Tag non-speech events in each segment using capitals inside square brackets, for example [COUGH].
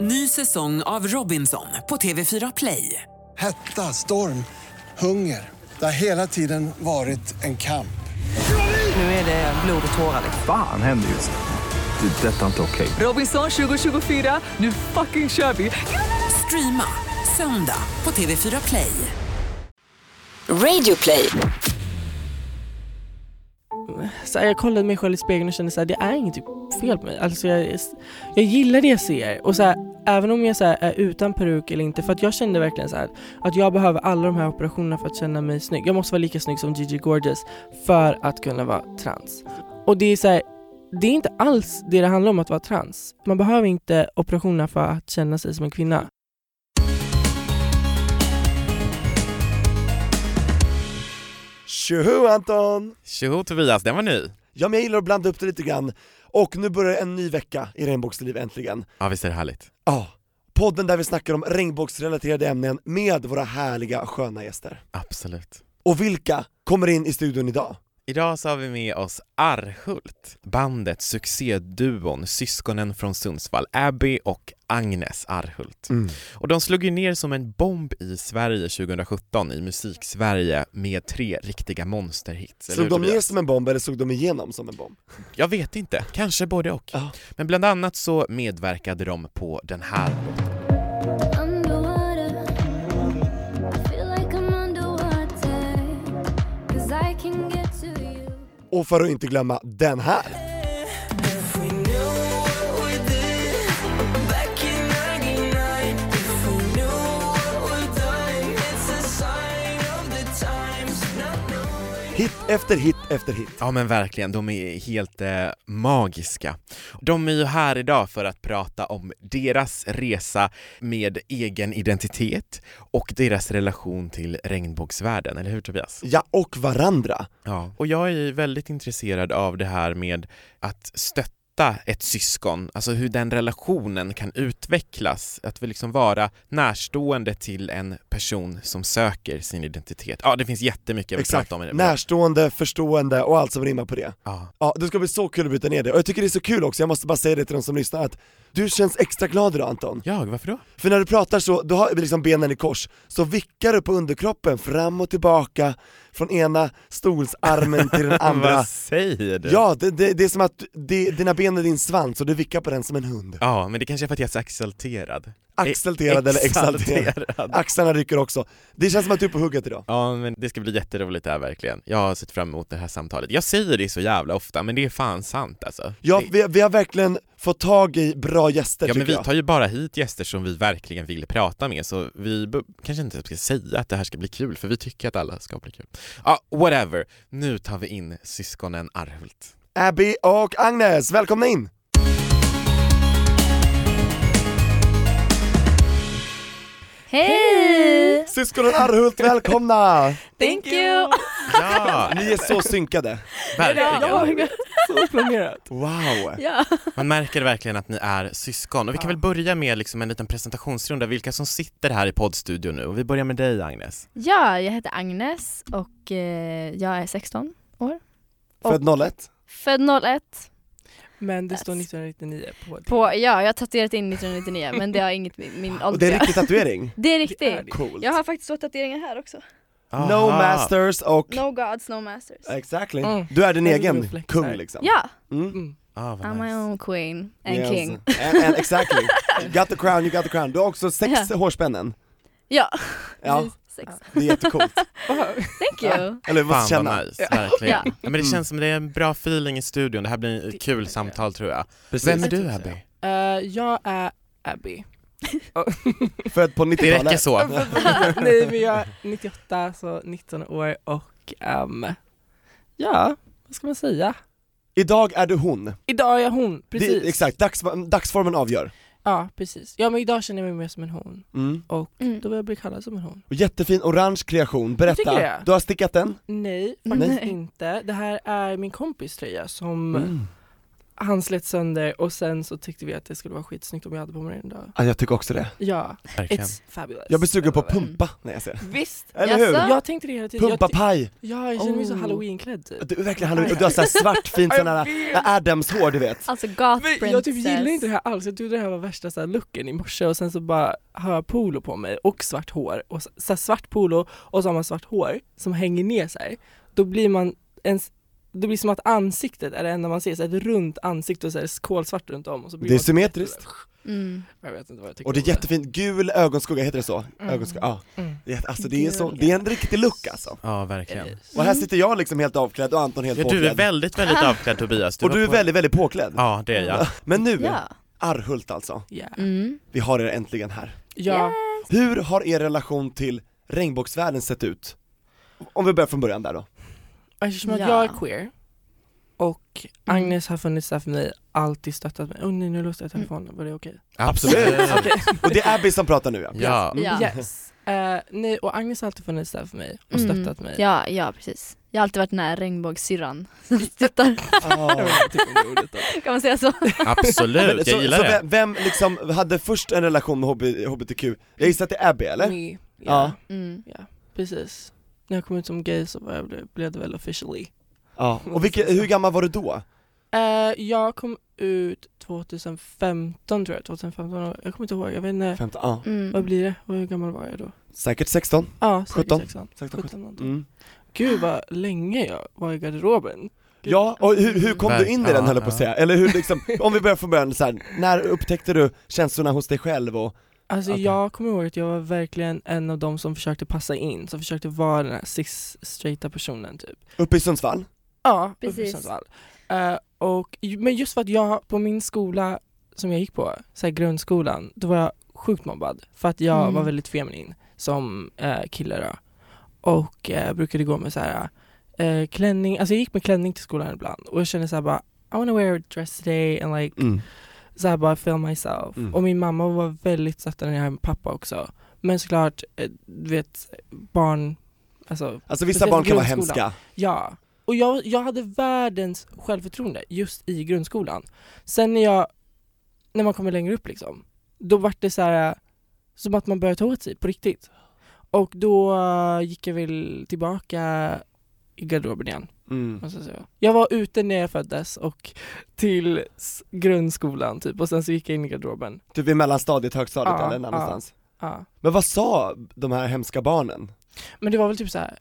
Ny säsong av Robinson på TV4 Play. Hetta, storm, hunger. Det har hela tiden varit en kamp. Nu är det Eh, blod och tårar. liksom. Fan händer just nu. Det. är Detta är inte okej. Robinson 2024, nu fucking kör vi! Streama söndag på TV4 Play. Radio play. så här, jag kollade mig själv i spegeln och kände så här, det är inget typ fel på mig. Alltså jag, jag gillar det jag ser. Och så här, även om jag så här, är utan peruk eller inte, för att jag kände verkligen så här, att jag behöver alla de här operationerna för att känna mig snygg. Jag måste vara lika snygg som Gigi Gorgeous för att kunna vara trans. Och det är så här, det är inte alls det det handlar om att vara trans. Man behöver inte operationerna för att känna sig som en kvinna. Tjoho Anton! Tjoho Tobias, den var ny! Ja men jag gillar att blanda upp det lite grann, och nu börjar en ny vecka i Regnbågsliv äntligen. Ja visst är det härligt? Ja, podden där vi snackar om regnbågsrelaterade ämnen med våra härliga sköna gäster. Absolut. Och vilka kommer in i studion idag? Idag så har vi med oss Arhult, bandet, succéduon, syskonen från Sundsvall, Abby och Agnes Arhult. Och de slog ju ner som en bomb i Sverige 2017 i musiksverige med tre riktiga monsterhits. eller Slog hur, de ner Tobias? som en bomb eller slog de igenom som en bomb? Jag vet inte, kanske både och. Ja. Men bland annat så medverkade de på den här låten. Underwater, I feel like I'm underwater. Cause I can get to you. Och för att inte glömma den här! Hit efter hit efter hit. Ja men verkligen, de är helt eh, magiska. De är ju här idag för att prata om deras resa med egen identitet och deras relation till regnbågsvärlden, eller hur Tobias? Ja, och varandra. Ja. Och jag är ju väldigt intresserad av det här med att stötta ett syskon, alltså hur den relationen kan utvecklas, att vi liksom vara närstående till en person som söker sin identitet. Ja, det finns jättemycket jag vill Exakt. prata om i det. men- Närstående, förstående och allt som rimmar på det. Ja. Ja, det ska bli så kul att bryta ner det. Och jag tycker det är så kul också, jag måste bara säga det till de som lyssnar att du känns extra glad idag Anton. Jag? Varför då? För när du pratar så, du har liksom benen i kors, så vickar du på underkroppen fram och tillbaka från ena stolsarmen till [LAUGHS] den andra. Vad säger du? Ja, det, det, det är som att det, dina ben är din svans och du vickar på den som en hund. Ja, men det kanske är för att jag är så exalterad. Axelterad eller exalterad. Exalterad. Axlarna rycker också. Det känns som att du är på hugget idag. Ja, men det ska bli jätteroligt det här verkligen. Jag har sett fram emot det här samtalet. Jag säger det så jävla ofta, men det är fan sant alltså. Ja, det... vi, vi har verkligen fått tag i bra gäster Ja men tycker vi jag. tar ju bara hit gäster som vi verkligen vill prata med så vi b- kanske inte ska säga att det här ska bli kul för vi tycker att alla ska bli kul. Ja, whatever. Nu tar vi in syskonen Arhult. Abby och Agnes, välkomna in! Hej! Syskonen Arhult, välkomna! Thank [LAUGHS] you! Ja, [LAUGHS] Ni är så synkade. verkligen. Så planerat. Wow! Ja. Man märker verkligen att ni är syskon och vi kan väl börja med liksom en liten presentationsrunda vilka som sitter här i poddstudion nu och vi börjar med dig Agnes. ja, jag heter Agnes och eh, jag är 16 år. Född 01. Född 01. Men det står Yes. 1999 på det. På, ja, jag har tatuerat in 1999 men det har inget med min Och det ålder är en att göra. riktig [LAUGHS] tatuering. det är Det är riktigt. det. Coolt. Jag har faktiskt två tatueringar här också. No Aha. masters och... No gods, no masters. Exactly. Mm. Du är din Jag egen vill flexa. kung liksom. Ja, Mm. Ah, vad I'm my nice. own queen and Yes. king. And, and exactly. You got the crown, you got the crown. Du har också sex Ja. hårspännen. Ja, Ja, precis. [LAUGHS] Sex. det är jättecoolt. Thank you. Eller vi måste Fan känna. vad nice, verkligen. Ja. Ja. men det känns som det är en bra feeling i studion, det här blir ett kul samtal tror jag. Vem är Jag du tror så. Abby? Eh, jag är Abby. Född på Det räcker 90-talet. så. [LAUGHS] Nej men jag är 98, så 19 år och ehm, ja, vad ska man säga? Idag är du hon. Idag är jag hon, precis. Det, exakt, dags, dagsformen avgör. Ja, precis. Ja men idag känner jag mig mer som en hon Mm. och Mm. då vill jag bli kallad som en hon. Och jättefin orange kreation, tycker berätta. det. Du har stickat den? Nej, faktiskt Nej. Mm. Mm. inte. Det här är min kompis tröja som han slet sönder och sen så tyckte vi att det skulle vara skitsnyggt om jag hade på mig den idag. Ja, jag tycker också det. Ja, Verkligen. it's fabulous. Jag blir sugen på Mm. pumpa när jag ser det. Visst! Eller hur? Jaså? Jag tänkte det hela tiden. Jag ty- Pumpapaj! ja, jag känner mig så Oh. halloweenklädd typ. Du är verkligen halloween, och du har såhär svart fint sån här Adams-hår du vet. Alltså goth Men princess. jag typ gillar inte det här alls, jag trodde det här var värsta så här, looken i morse och sen så bara har jag polo på mig och svart hår. Och så, så här, svart polo och så har man svart hår som hänger ner så här. Då blir man ens det blir som att ansiktet är det enda man ser, så här, ett runt ansikte och så är det kolsvart runt om och så blir Det är man- symmetriskt. Mm. Jag vet inte vad jag tycker Och det om är jättefint, gul ögonskugga, heter det så? Ögonskugga, ja. Mm. Det är- Alltså det är, så, det är en riktig look alltså. Ja, verkligen. Och Mm. här sitter jag liksom helt avklädd och Anton helt Ja, påklädd. du är väldigt, [LAUGHS] väldigt avklädd Tobias. och var du är på- väldigt, väldigt påklädd. Ja, det är [LAUGHS] jag. Men nu, Ja. Arhult alltså. Yeah. Mm. Vi har er äntligen här. Ja, Hur har er relation till regnbågsvärlden sett ut? Om vi börjar från början där då. eftersom att Ja. Mm. jag är queer och Agnes har funnits där för mig, alltid stöttat mig. Oh, nej, nu låste jag telefonen, var det okej? Absolut. Och det är Abby som pratar nu ja. Ja. Ja. Yes. Eh, nej, och Agnes har alltid funnits där för mig och Mm. stöttat mig. Ja, ja precis. Jag har alltid varit den här regnbågssyrran [LAUGHS] [LAUGHS] som stöttar. Jag Ah. vet inte om det är ordet då. [LAUGHS] Kan man [LAUGHS] säga så? Men Absolut, jag så, gillar så det. vem, vem liksom hade först en relation med HB, HBTQ? Jag gissar att det är Abby eller? Me. Ja, Ja. Mm. precis. När jag kom ut som gay så var jag, blev- blev det väl officially. Ja. Och vilke, hur gammal var du då? Eh, jag kom ut 2015 tror jag, 2015, jag kommer inte ihåg, jag vet inte, 15, ja. vad Mm. blir det? Hur gammal var jag då? Säkert 16? Ja, säkert 17. 16. 16, 17 någonting. Mm. Gud vad länge jag var i garderoben. Gud. Ja, och hur, hur kom du in i den Verkligen. höll jag på att säga? Eller hur liksom, om vi börjar från början så här, när upptäckte du känslorna hos dig själv och, Alltså Okej. jag kommer ihåg att jag var verkligen en av de som försökte passa in, som försökte vara den här cis-straighta personen typ. uppe i Sundsvall? Ja, Precis. precis. och, ju- men just för att jag på min skola som jag gick på, så här grundskolan, då var jag sjukt mobbad för att jag Mm. var väldigt feminin som eh, kille då. Och eh, brukade gå med så här eh, klänning, alltså jag gick med klänning till skolan ibland och jag kände så här bara I wanna wear a dress today and like Mm. så här bara feel myself. Mm. Och min mamma var väldigt stöttande när jag med pappa också. Men såklart, eh, du vet barn, alltså Alltså vissa Precis, barn kan vara grundskolan. hemska, Ja, och jag, jag hade världens självförtroende just i grundskolan. Sen när jag, när man kommer längre upp liksom, då vart det så här äh, som att man började ta åt sig på riktigt. Och då eh, gick jag väl tillbaka i garderoben igen. mm. måste jag säga. Jag var ute när jag föddes och till s- grundskolan typ och sen så gick jag in i garderoben. typ i mellanstadiet, högstadiet Ja, eller någonstans. Ja. Men vad sa de här hemska barnen? Men det var väl typ så här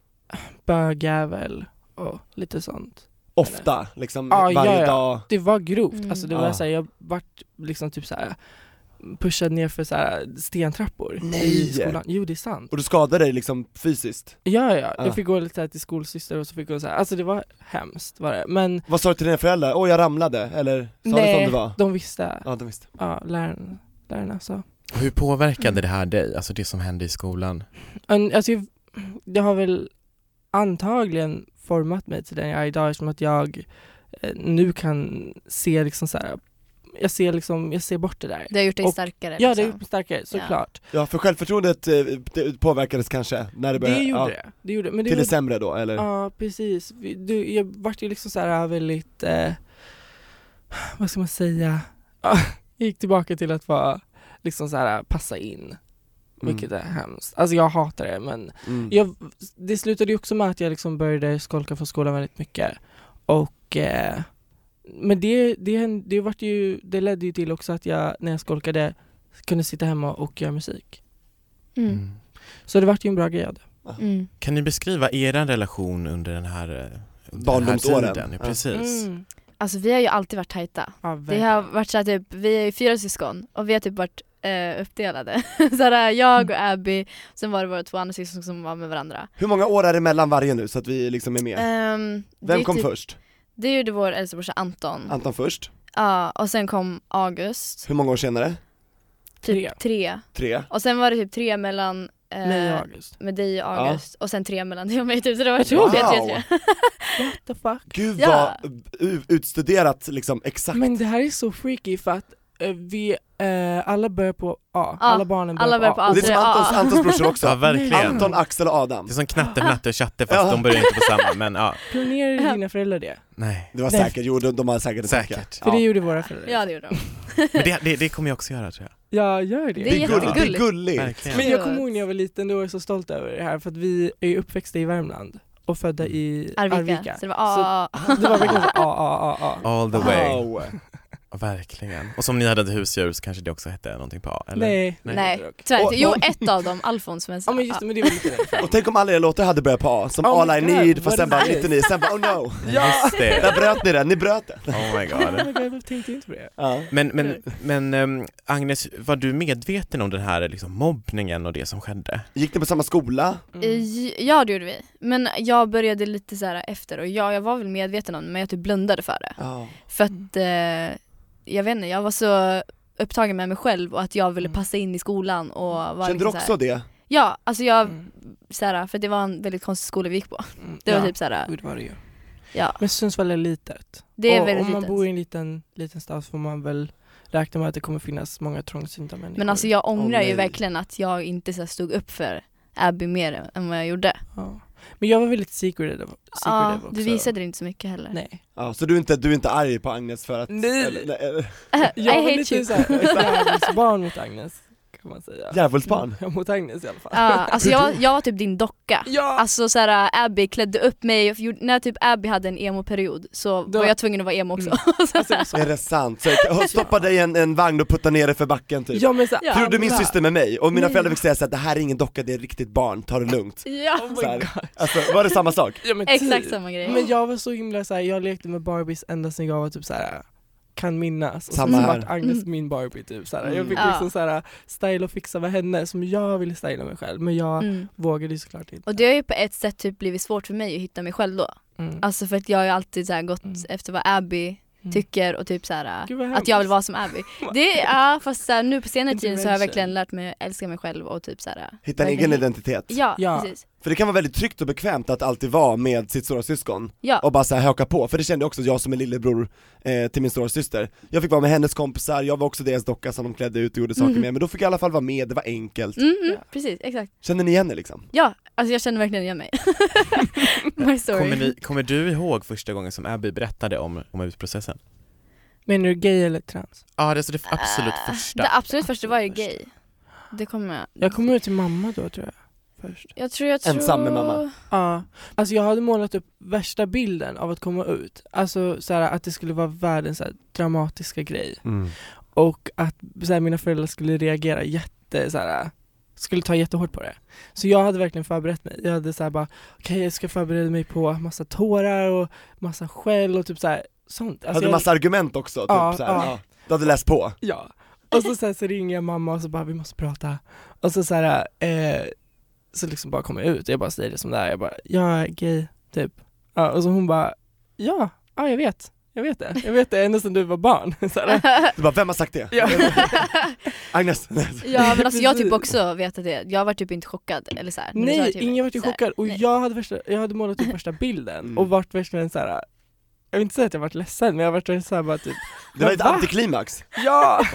bögjävel och lite sånt. Ofta, liksom Ja, ja, varje ja. dag? det var grovt, Mm. alltså det var Ah. såhär, jag vart liksom typ såhär pushad ner för såhär stentrappor Nej. i skolan. Jo det är sant. Och du skadade dig liksom fysiskt? Ja ja, Ah. jag fick gå lite såhär till skolsyster och så fick hon såhär, alltså det var hemskt var det. Men Vad sa du till dina föräldrar? Åh jag ramlade, eller sa du som det var? de visste, Ja, de visste. ja lärarna, lärarna sa. Hur Mm. påverkade det här dig, alltså det som hände i skolan? En- Alltså jag- det har väl antagligen format mig till den jag är idag eftersom att jag eh, nu kan se liksom såhär, jag ser liksom, jag ser bort det där. Det har gjort dig Och- starkare. Ja det har liksom. gjort mig starkare, såklart. Ja, för självförtroendet eh, det påverkades kanske när det Det, började, gjorde ja, det. det gjorde, men det till det gjorde, sämre då eller? Ja precis, Vi- du, jag vart ju liksom så här väldigt, eh, vad ska man säga, Ja, jag gick tillbaka till att vara liksom så här passa in, Mm. vilket är hemskt. Alltså jag hatar det men Mm. jag, det slutade ju också med att jag liksom började skolka från skolan väldigt mycket och eh, men det, det, hände- det, vart ju, det ledde ju till också att jag när jag skolkade kunde sitta hemma och göra musik. Mm. Så det vart ju en bra grej av det. Mm. Kan ni beskriva er relation under den här eh, den här Barndomsåren. tiden? Ja. Precis. Mm. Alltså vi har ju alltid varit tajta. Ja, Vi har varit såhär typ, vi är ju fyra syskon och vi har typ varit eh, uppdelade. [LAUGHS] såhär jag Mm. och Abby, sen var det våra två andra syskon som var med varandra. Hur många år är det mellan varje nu så att vi liksom är med? Ehm, det Vem är kom typ, först? Det gjorde vår äldsta brorsa Anton. Anton först? Ja, och sen kom August, Hur många år senare? typ Tre. tre. Tre? Och sen var det typ tre mellan eh, Nej, August. med dig och Ja. August och sen tre mellan dig och mig typ så det var Jag tre, tror tre, det. tre, tre. What the fuck? Gud Ja. vad u- utstuderat liksom exakt. Men det här är så freaky för att eh, vi, eh, alla börjar på A, Ja, alla barnen börjar alla börjar på A. Och det är som Antons, Ja. Antons brorsor också. [LAUGHS] Ja, verkligen. Anton, Axel och Adam. Det är som knatte, natte och tjatte fast Ja. de börjar inte på samma, men ja, Planerar dina föräldrar det? nej. Det var Nej. säkert, jo de, de har säkert en tanke. Säkert. För det Ja. gjorde våra föräldrar. Ja det gjorde de. Men det, det, det kommer jag också göra tror jag. Ja, gör det. Det är Det är gulligt. Det är jättegulligt. gulligt. Verkligen. Men jag kommer ihåg när jag var liten, då var jag så stolt över det här för att vi är ju uppväxta i Värmland och födda i Arvika. Arvika. Så det var ah, [LAUGHS] Så det var verkligen så, A, A, A, A. All the way. Wow. Verkligen. Och som ni hade husdjur så kanske det också hette någonting på A, eller? Nej. Nej. Nej, dock. tyvärr inte. Jo Och- ett av dem, Alfons. Men, Ja men just det, men det var lite längre fram. [LAUGHS] Och tänk om alla era låtar hade börjat på A, som Oh All my I God, Need, fast what sen is bara this? 99, sen bara oh no. Just det. Där bröt ni det, ni bröt det. Oh my Oh god. my God, jag tänkte inte på det. Ja. Men, [LAUGHS] men, men ehm, Agnes, var du medveten om den här liksom, mobbningen och det som skedde? Gick ni på samma skola? Mm. I- Ja det gjorde vi. Men jag började lite så här efter och ja, jag var väl medveten om det men jag typ blundade för det. Ja. För att eh, jag vet inte, jag var så upptagen med mig själv och att jag ville passa in i skolan och var Mm. Kände du liksom så här- också det? Ja, alltså jag, Mm. så här, för det var en väldigt konstig skola vi gick på. Mm. Det var Ja. typ så här, Gud var det ju. Ja. Men Sundsvall är litet. det är och väldigt om man litet. bor i en liten, liten stad så får man väl räkna med att det kommer finnas många trångsynta människor. Men alltså jag ångrar Åh, nej. ju verkligen att jag inte så här, stod upp för Abby mer än vad jag gjorde. ja. men jag var väldigt secretive, Ja, secretive också. du visade det inte så mycket heller. Ah. Nej. Ja, så du är, inte, du är inte arg på Agnes för att... Nej. eller- nej, eller- [LAUGHS] I Jag var hate you. lite [LAUGHS] såhär barn mot Agnes, kan man säga. Djävulsbarn. Ja, mot Agnes i alla fall. Ja, alltså jag, jag var typ din docka. Ja! Alltså såhär, Abby klädde upp mig, och gjorde- när typ Abby hade en emo-period så Då- var jag tvungen att vara emo [LAUGHS] också. Alltså, det är så- Är det sant? Så jag stoppade dig i en, en vagn och puttade ner dig för backen typ. ja men så Ja. Gjorde min alla- syster med mig, och mina föräldrar fick säga såhär, det här är ingen docka, det är ett riktigt barn, ta det lugnt. ja, Oh my Så här. God. Alltså, var det samma sak? Ja, men exakt typ. samma grej. Men jag var så himla såhär, jag lekte med Barbies ända sedan jag var typ såhär kan minnas, och Samma sen så här. vart Agnes min Barbie typ såhär. Jag fick Mm. liksom såhär styla och fixa med henne som jag ville styla mig själv men jag Mm. vågade ju såklart inte. Och det har ju på ett sätt typ blivit svårt för mig att hitta mig själv då. Mm. Alltså för att jag har ju alltid så här gått Mm. efter vad Abby Mm. tycker och typ så här, Gud, vad att hemskt. jag vill vara [LAUGHS] som Abby. Det, ja fast så här, nu på senare tid så har jag Intervention. verkligen lärt mig att älska mig själv och typ så här. Hitta en egen verkligen- identitet. Ja, Ja. precis. För det kan vara väldigt tryggt och bekvämt att alltid vara med sitt stora syskon Ja. och bara så här höka på, för det kände jag också, jag som är lillebror eh, till min stora syster. Jag fick vara med hennes kompisar, jag var också deras docka som de klädde ut och gjorde Mm. saker med, men då fick jag i alla fall vara med, det var enkelt. Mm, mm, Precis, exakt. Känner ni igen det liksom? Ja, alltså jag känner verkligen [LAUGHS] igen mig. My story. Eh, Kommer, ni, kommer du ihåg första gången som Abby berättade om, om utprocessen? Menar du gay eller trans? Ja, det är så det absolut Äh, första. Det absolut första var ju Absolut gay. Det kommer jag. Jag kom ut till mamma då tror jag först. Jag tror jag tror... Ensam med mamma. Ja, alltså jag hade målat upp värsta bilden av att komma ut. Alltså så här, att det skulle vara världens så här, dramatiska grej. Och att så här, mina föräldrar skulle reagera jätte, så här, skulle ta jättehårt på det. Så jag hade verkligen förberett mig. Jag hade så här bara, okej jag ska förbereda mig på massa tårar och massa skäll och typ så här, sånt. Alltså, hade du jag, massa argument också? Typ, Ja, så här, ja. ja. Du hade läst på? Ja. Och så, så, här, så ringer jag mamma och så bara, vi måste prata. Och så så här, eh, så liksom bara kommer jag ut och jag bara säger det som det är. Jag bara, jag är gay, typ. Ja, och så hon bara, ja, ja jag vet. Jag vet det. Jag vet det ända sedan du var barn. [LAUGHS] Så här, Du bara, vem har sagt det? [LAUGHS] ja. Agnes? [LAUGHS] Ja men alltså jag typ Precis. också vet att det, jag var typ inte chockad eller så här. när du sa det Nej, till mig. ingen typ vart ju Så här, chockad och nej. jag hade, värsta, jag hade målat [LAUGHS] upp värsta bilden Mm. och vart verkligen såhär jag vill inte säga att jag vart ledsen men jag vart verkligen såhär bara typ [LAUGHS] Det var ett Va? antiklimax. [LAUGHS] ja!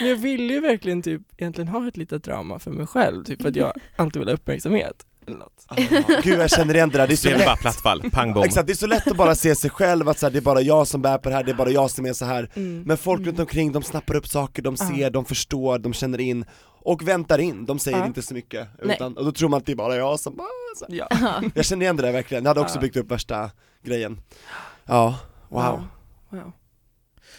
men jag ville ju verkligen typ egentligen ha ett litet drama för mig själv, typ för att jag alltid vill ha uppmärksamhet eller något. Ah, Gud jag känner igen det där, det är så Det är bara lätt. platt fall, pang bom. Exakt, det är så lätt att bara se sig själv, att så här, det är bara jag som bär på det här, det är bara jag som är så här. Men folk runt omkring, de snappar upp saker, de ser, de förstår, de känner in och väntar in, de säger Ja. inte så mycket. Nej. Utan, och då tror man att det är bara jag som bara, så här. Ja. [LAUGHS] Jag känner igen det där verkligen, jag hade också Ja. byggt upp värsta grejen. Ja, wow. wow.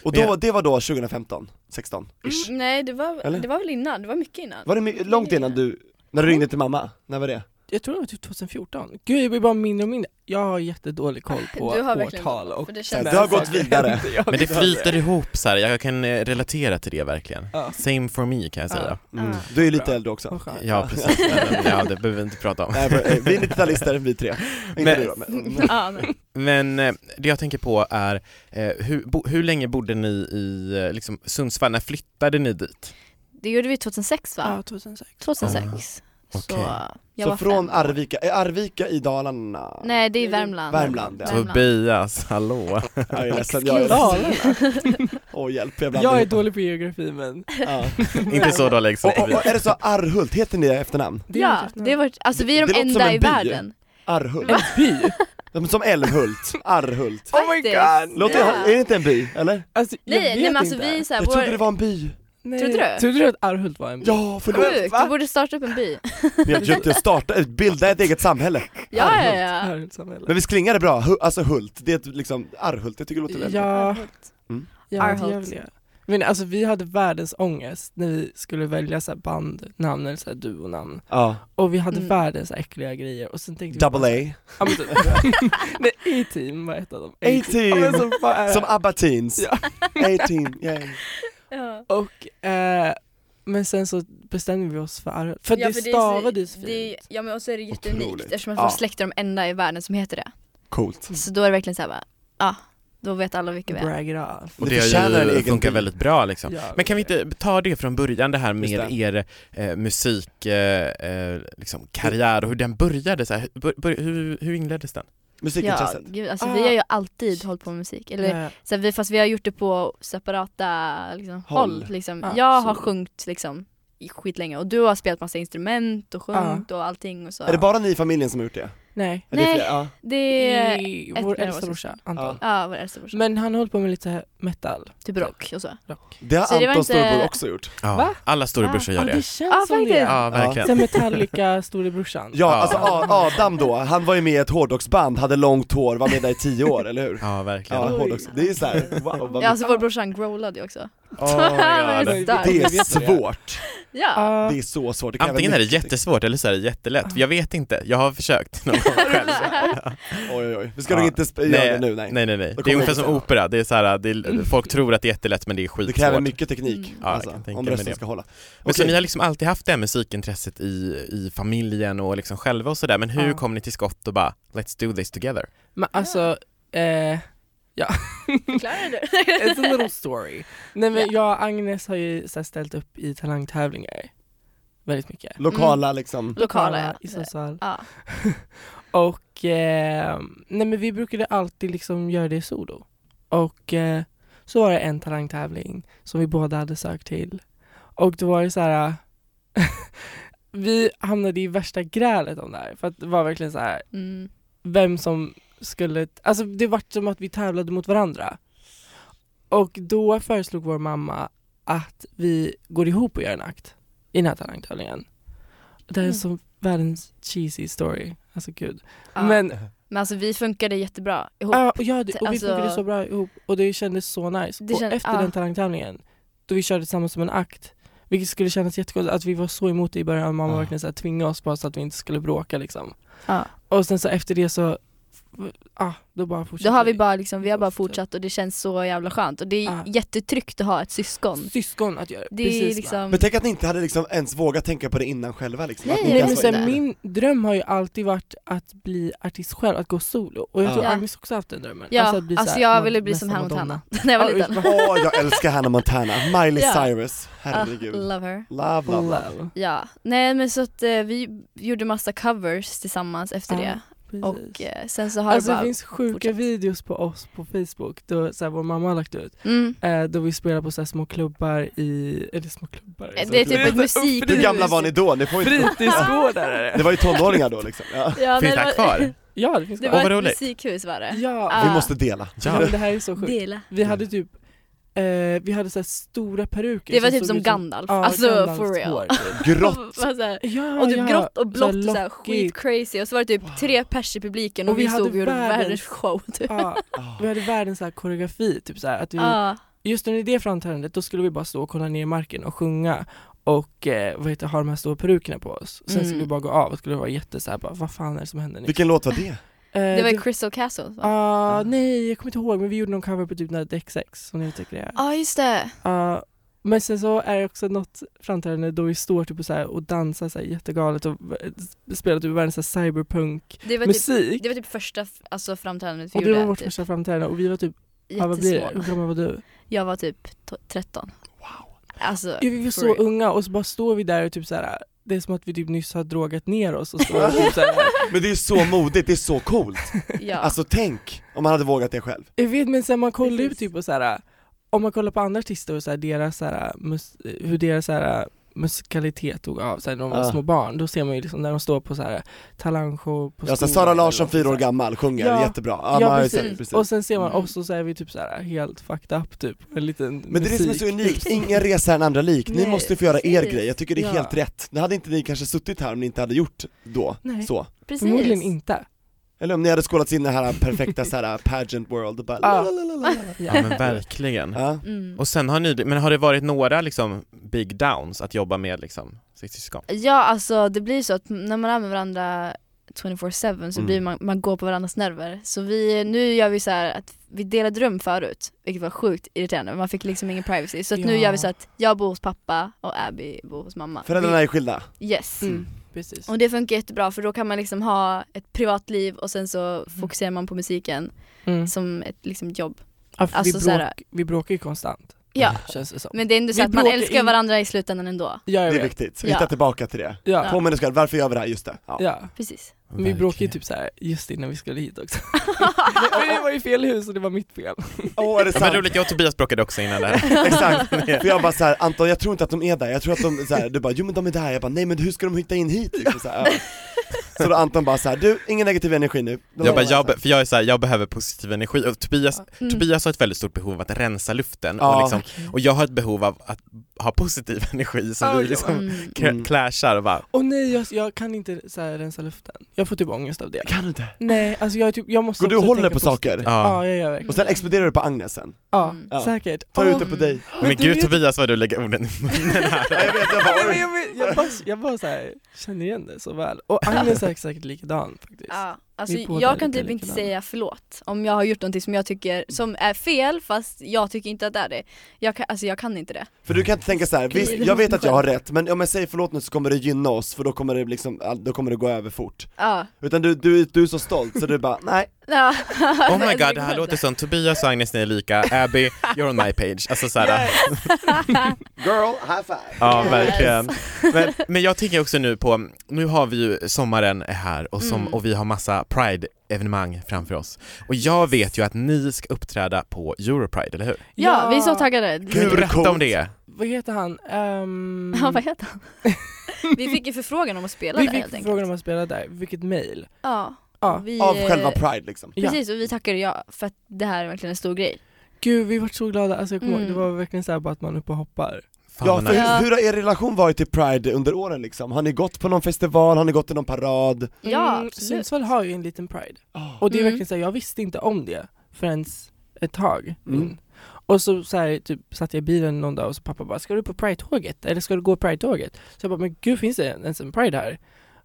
Och Men då, jag- det var då 2015, 16 ish. Mm, Nej det var, Eller? det var väl innan, det var mycket innan. Var det my- långt innan du, när du ringde till mamma? När var det? Jag tror det var typ 2014, gud jag blir bara mindre och mindre. Jag har jättedålig koll på [LAUGHS] Du har verkligen årtal koll, och för det känns- Det har gått saker vidare. händer. Jag [LAUGHS] Men det vet inte. flyter ihop så här. jag kan eh, relatera till det verkligen. Ja. Same for me kan jag säga. Mm. Ah. Du är ju lite Bra. äldre också. Vad skönt. Ja, precis. Men, Ja, det behöver vi inte prata om. Nej, men, eh, vi är 90-talister, vi tre. Inte Men- du då, men, Mm. Ja, nej. Men eh, det jag tänker på är, eh, hur, bo, hur länge bodde ni i eh, liksom, Sundsvall? När flyttade ni dit? Det gjorde vi 2006 va? Ja, 2006. 2006. Så Okej. jag Ah, Så var från fem år. Arvika, är Arvika i Dalarna? Nej det är Värmland. Värmland, ja. Tobias, [LAUGHS] hallå. Ja, jag är ledsen, jag är ledsen. Dalarna. Åh hjälp, jag blandar Jag är ihop dem. dålig på geografi men Ja. Inte så dålig som Och, och, och Tobias. är det så Arhult, heter ni det i efternamn? det är Ja, inte- det var, alltså vi är de Det- det låter som enda en i by. världen. Arhult? [LAUGHS] En by? Ja, men Som Älmhult, Arhult Oh my god! Låter, Är det inte en by, eller? Alltså, jag Nej, nej vet men alltså inte. vi är såhär, Jag trodde det vår... var en by Nej. Trodde du? Trodde du att Arhult var en by? Ja, förlåt! Sjukt, vi borde starta upp en by. Ni har försökt att starta, bilda ett eget samhälle Ja, ja, Arhult, ja. Arhultsamhälle. Men visst klingar det bra? Hu- alltså Hult, det är ett liksom Arhult, jag tycker det låter väldigt bra. Ja, Mm. ja Arhult. det gör väl jag. Men alltså vi hade världens ångest när vi skulle välja så här bandnamn eller så här duonamn ja. och vi hade Mm. världens äckliga grejer och sen tänkte vi bara, Double A, Ja, men typ. [LAUGHS] Nej, A-Team var ett av dem. Ja, men A-Team, så eh. bara- som ABBA Teens Ja. A-Team, yeah. Ja. Och, eh, men sen så bestämde vi oss för Arhult, för Ja, det för är så- stavades fint. det är- Ja men och så är det jätteunikt Otroligt. eftersom att Ja. Mm. vår släkt är de enda i världen som heter det. Coolt Så då är det verkligen såhär bara, ja, då vet alla vilka vi är. Brag it off. Och Det det förtjänar en har ju egen funkat by. väldigt bra liksom. Ja, Mm, Men kan vi inte ta det från början det här med Just det. er eh, musik, eh, eh, liksom, karriär och hur den började? Så här, hur, bör- bör- hur, hur inleddes den? Ja, Musikintresset gud, alltså Ah. vi har ju alltid hållit på med musik. Eller, Ja, så här, vi, fast vi har gjort det på separata liksom, Håll. håll. liksom. Ah, jag har så. sjungit liksom i skitlänge och du har spelat massa instrument och sjungit och allting och så. Är det bara ni i familjen som har gjort det? Nej. Är det Nej. fler? Ja. Det är, I ett vår bröd äldsta och brorsa, Ja. Anton. ja, vår äldsta brorsa. Men han håller på med lite metal. Typ rock och så. Rock. Det har Så det var Anton inte- storebror också gjort Va? Ah, Ja, alla storebrorsor gör Ja, det det. känns Ja, som det. faktiskt. Ja, verkligen. Så Metallica, [LAUGHS] storebrorsan. Ja, Ja. alltså A- Adam då, han var ju med i ett hårdrocksband, hade långt hår, var med där i tio år, eller hur? Ja, Ja, verkligen. hårdrocks, det är såhär, wow vad Ja, alltså vår brorsa han growlade ju också. [LAUGHS] [LAUGHS] Oh my Det god. är Det starkt. är svårt, Ja. Ah, det är så svårt, det kan Antingen är vara det mycket- jättesvårt eller så är det jättelätt. Jag vet inte, jag har försökt någon gång själv. Oj oj oj, vi ska nog Ja. inte sp- Nej. göra det nu nej. Nej nej nej, Då det är kommer ungefär det som sen. opera, det är så här, det är, folk tror att det är jättelätt men det är Det kräver skitsvårt. mycket teknik, Mm. Ja, jag alltså, kan tänka om mig rösten det. ska hålla Men så Okej. ni har liksom alltid haft det här musikintresset i, i familjen och liksom själva och sådär, men hur Ja. kom ni till skott och bara “let's do this together”? men alltså, eh, [LAUGHS] Klarar du? it's a little story. Nej men jag och Agnes har ju så här, ställt upp i talangtävlingar väldigt mycket. Lokala Mm. liksom, Lokala ja. I Sundsvall. [LAUGHS] ja. Och, eh, nej men vi brukade alltid liksom göra det solo. Och eh, så var det en talangtävling som vi båda hade sökt till. Och då var det så här. eh, [LAUGHS] vi hamnade i värsta grälet om det här. För att det var verkligen så här. Mm. vem som skulle, alltså det var som att vi tävlade mot varandra. Och då föreslog vår mamma att vi går ihop och gör en akt i den här talangtävlingen. Det här är Mm. som världens cheesy story, alltså gud. Ja. Men, Men alltså vi funkade jättebra ihop. ja, och, ja, det, och vi Alltså- funkade så bra ihop och det kändes så nice. Det och kän- efter ja. den talangtävlingen, då vi körde tillsammans som en akt, vilket skulle kännas jättekonstigt, att vi var så emot det i början, mamma Ja. verkligen så här, tvingade oss bara så att vi inte skulle bråka liksom. Ja. Och sen så efter det så, ah, då bara Då fortsatte har vi vi. bara liksom, vi har bara fortsatt och det känns så jävla skönt och det är Ja. jättetryggt att ha ett syskon. syskon att göra Det Ah. precis är liksom, men tänk att ni inte hade liksom ens vågat tänka på det innan själva liksom Nej, att ni Nej, Jag men såg ens var sen, det. min dröm har ju alltid varit att bli artist själv, att gå solo. Och jag tror Ja. Agnes också haft den drömmen. ja, att bli alltså, så här, jag man- ville bli nästan som Hannah Madonna. Montana när jag var Ja, liten. usch, Åh, jag älskar Hannah Montana, Miley Ja. Cyrus, herregud [LAUGHS] Ah, love her. Love, love, love. Love. Ja, nej men så att eh, vi gjorde massa covers tillsammans efter Ja, det precis. och eh, sen så har Alltså det det bara... finns sjuka fortsatt. videos på oss på Facebook, då, så här, vår mamma har lagt ut, Mm. eh, då vi spelar på så här, små klubbar i, eller små klubbar? alltså, Eh, Det är Det är typ ett så musik... uppriktigt. Hur gamla var ni då? Ni får ju inte... Fritidsgårdar är det. Det var ju tonåringar då liksom, ja. Ja, Finns nej, den det här var- kvar? Ja det finns [LAUGHS] Det det Åh, vad var ett roligt. musikhus var det. Ja, Ah. Vi måste dela men Ja. det här är så sjukt. Dela. Vi hade typ, eh, vi hade så här stora peruker Mm. Det var typ såg som ut Gandalf, Ja, alltså Gandalfs for hår, real. typ. Grått! [LAUGHS] Vad så här- Ja, Och typ ja. grått och blått och här så här skit lockigt. crazy och så var det typ tre pers i publiken och, Och vi vi, hade stod och gjorde världens- världens show [LAUGHS] typ. Ja, Ah. vi hade världens så här koreografi, typ så här, att vi, Ja. just under det framträdandet då skulle vi bara stå och kolla ner i marken och sjunga och eh, vad heter, ha de här stora perukerna på oss. Sen Mm. skulle vi bara gå av och skulle vara jätte så här, bara, vad fan är det som händer nu? Vilken låt var det? Eh, Det var ju Crystal Castle va? Ja Ah, nej, jag kommer inte ihåg men vi gjorde någon cover på typ när XX som ni tycker det är. ah, just det. Ja, men sen så är det också något framträdande då vi står typ och, så här, och dansar så här, jättegalet och eh, spelar typ världens så här cyberpunk Det var typ, musik. det var typ första f- alltså, framträdandet vi och det var gjorde. vårt Typ. första framträdande och vi var typ, ja, vad blir det? Hur Jättesmå. gammal var du? Jag var typ to- 13. Wow. Alltså, Ja, vi var for så real. unga och så bara står vi där och typ så här det är som att vi typ nyss har drogat ner oss och står och typ så här. Men det är så modigt, det är så coolt! [LAUGHS] Ja. Alltså tänk om man hade vågat det själv. Jag vet men sen man kollar ju Precis. typ på så här. om man kollar på andra artister och så här, deras, så här, mus- hur deras så här, musikalitet tog av så här, när de var Ja. små barn, då ser man ju liksom när de står på så här, talangshow på Ja, så skolan Sara eller Larsson, någonting fyra år så här. gammal, sjunger Ja. jättebra. Ja, man har ju precis. sett- precis. Mm. Och sen ser man också så är vi typ så här helt fucked up typ, en liten Men det är det som är så unikt, ingen resa är den andra lik, ni Nej, måste få göra er precis. grej, jag tycker det är Ja. helt rätt. Nu hade inte ni kanske suttit här om ni inte hade gjort då, Nej. så. Förmodligen Precis. inte. Eller om ni hade skålats in i det här perfekta så här pageant world och bara Ja. lalalala. Ja. Ja [LAUGHS] men verkligen. Ja. Mm. Och sen har ni, men har det varit några liksom big downs att jobba med liksom sitt syskon? Ja alltså det blir så att när man är med varandra 24-7 så Mm. blir man, man går på varandras nerver. Så vi, nu gör vi så här att vi delade rum förut, vilket var sjukt irriterande. Man fick liksom ingen privacy. Så att nu Ja. gör vi så att jag bor hos pappa och Abby bor hos mamma. Föräldrarna är skilda. Vi, yes. Mm. Precis. Och det funkar jättebra för då kan man liksom ha ett privatliv och sen så fokuserar man på musiken Mm. som ett liksom jobb. Ja, för alltså vi, så här- bråk, vi bråkar ju konstant, Ja, känns det som. men det är ändå så Vi att man bråkar älskar in- varandra i slutändan ändå. ja, jag Det är vet. viktigt, Ja. hitta tillbaka till det. Ja. Ja. Påminna dig själv, varför gör vi det här? Just det. Ja. ja. Precis. Men vi bråkade ju typ såhär just innan vi skulle hit också. [LAUGHS] Men det var ju fel hus och det var mitt fel. Åh är det Ja, men sant? roligt, jag och Tobias bråkade också innan det [LAUGHS] här. Exakt, för jag bara såhär, Anton jag tror inte att de är där, jag tror att de, så här, du bara jo men de är där, jag bara nej men hur ska de hitta in hit? Liksom, så, [LAUGHS] här, ja. så då Anton bara såhär, du ingen negativ energi nu. [LAUGHS] De Jag, bara, är jag, så be- för jag är så här, jag behöver positiv energi och Tobias, Mm. Tobias har ett väldigt stort behov av att rensa luften Ja. och, liksom, och jag har ett behov av att ha positiv [LAUGHS] energi som Ja, vi ja. liksom Mm. kra- Mm. clashar och bara, Och nej jag, jag kan inte så här rensa luften. Jag får typ ångest av det. här. Kan du inte? Nej alltså jag, är typ, jag måste Går du och också håller tänka på saker? ja. Ja jag gör verkligen Och sen exploderar du på Agnes sen? ja, Mm. Ja. säkert. Tar Åh, ut det på dig? Men, du gud vet- Tobias vad du lägger orden i munnen [LAUGHS] Ja, här. jag vet, jag bara, Nej, men oj. jag, vet- jag bara, jag bara så här, känner igen det så väl. Och Agnes är exakt likadan faktiskt. Ja, alltså Vi är båda jag kan lite typ inte likadana. säga förlåt om jag har gjort någonting som jag tycker som är fel fast jag tycker inte att det är det. Jag kan, alltså jag kan inte det. För du kan inte tänka så här. visst jag vet att jag har rätt, men om jag säger förlåt nu så kommer det gynna oss för då kommer det liksom, all- då kommer det gå över fort. Ja. Utan du, du, du är så stolt så du bara, nej, Ja. [LAUGHS] Oh Alltså, my god, det här låter som Tobias och Agnes, ni är lika, Abby, you're on my page. Alltså så här, [LAUGHS] girl, high five! Ja, verkligen. Men, men jag tänker också nu på, nu har vi ju sommaren är här och, som, och vi har massa Pride-evenemang framför oss. Och jag vet ju att ni ska uppträda på Europride, eller hur? Ja, vi är så taggade. Gud, Berätta coolt. om det! Vad heter han? Ehm, [LAUGHS] Ja, vad heter [LAUGHS] han? Vi fick ju förfrågan om att spela vi där helt fick enkelt. frågan om att spela där, vi fick ett mail. Ja. Ja. Vi, Av eh, själva pride liksom. Ja. Precis, och vi tackade ja för att det här är verkligen en stor grej. Gud vi var så glada, alltså jag kommer Mm. ihåg, det var verkligen såhär bara att man är uppe och hoppar. Fan Ja, vad för nice. Ja. hur har er relation varit till pride under åren liksom? Har ni gått på någon festival, har ni gått i någon parad? Ja, Mm, absolut. Sundsvall har ju en liten Pride. Och det är Mm. verkligen så här, jag visste inte om det förrän ett tag in. Mm. Och så, så här, typ, satt jag i bilen någon dag och så pappa bara, ska du på Pride-tåget? Eller ska du gå Pride-tåget? Så jag bara, men gud finns det ens en Pride här?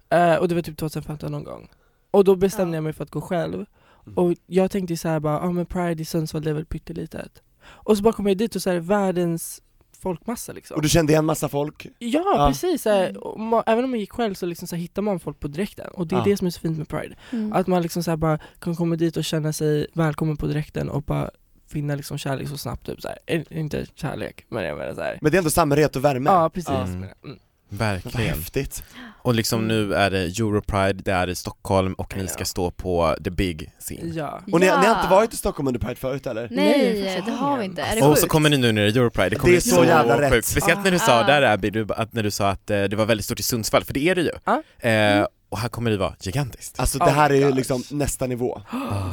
Eh, och det var typ 2015 någon gång. Och då bestämde Ja. jag mig för att gå själv. Mm. Och jag tänkte ju så här bara, ja ah, men Pride i Sundsvall det är väl pyttelitet. Och så bara kom jag dit och så här, världens folkmassa liksom. Och du kände igen massa folk? Ja, Ja. Mm. precis! Så här, och ma- även om man gick själv så, liksom, så här, hittar man folk på direkten och det är Ja. det som är så fint med Pride. Mm. Att man liksom så här, bara kan komma dit och känna sig välkommen på direkten och bara finna liksom, kärlek så snabbt. Typ, så här. Eh, Inte kärlek, men jag menar så här. Men det är ändå samhörighet och värme? Ja, precis. Ja. Mm. Mm. Vad Verkligen. häftigt. Och liksom nu är det Europride, det är i Stockholm och ni ska stå på the big scene. Ja. Och ni, Ja. ni har inte varit i Stockholm under pride förut eller? Nej, Nej, det har vi inte. Är det Och sjukt? Ah, så kommer ni nu när det är Europride, det kommer Det är bli så jävla rätt. Speciellt när du sa där Abby, du, att, när du sa att eh, det var väldigt stort i Sundsvall, för det är det ju. Ja. Eh, Mm. Och här kommer det vara gigantiskt. Ah. Alltså Oh det här my är ju gosh. liksom [GASPS] nästa nivå,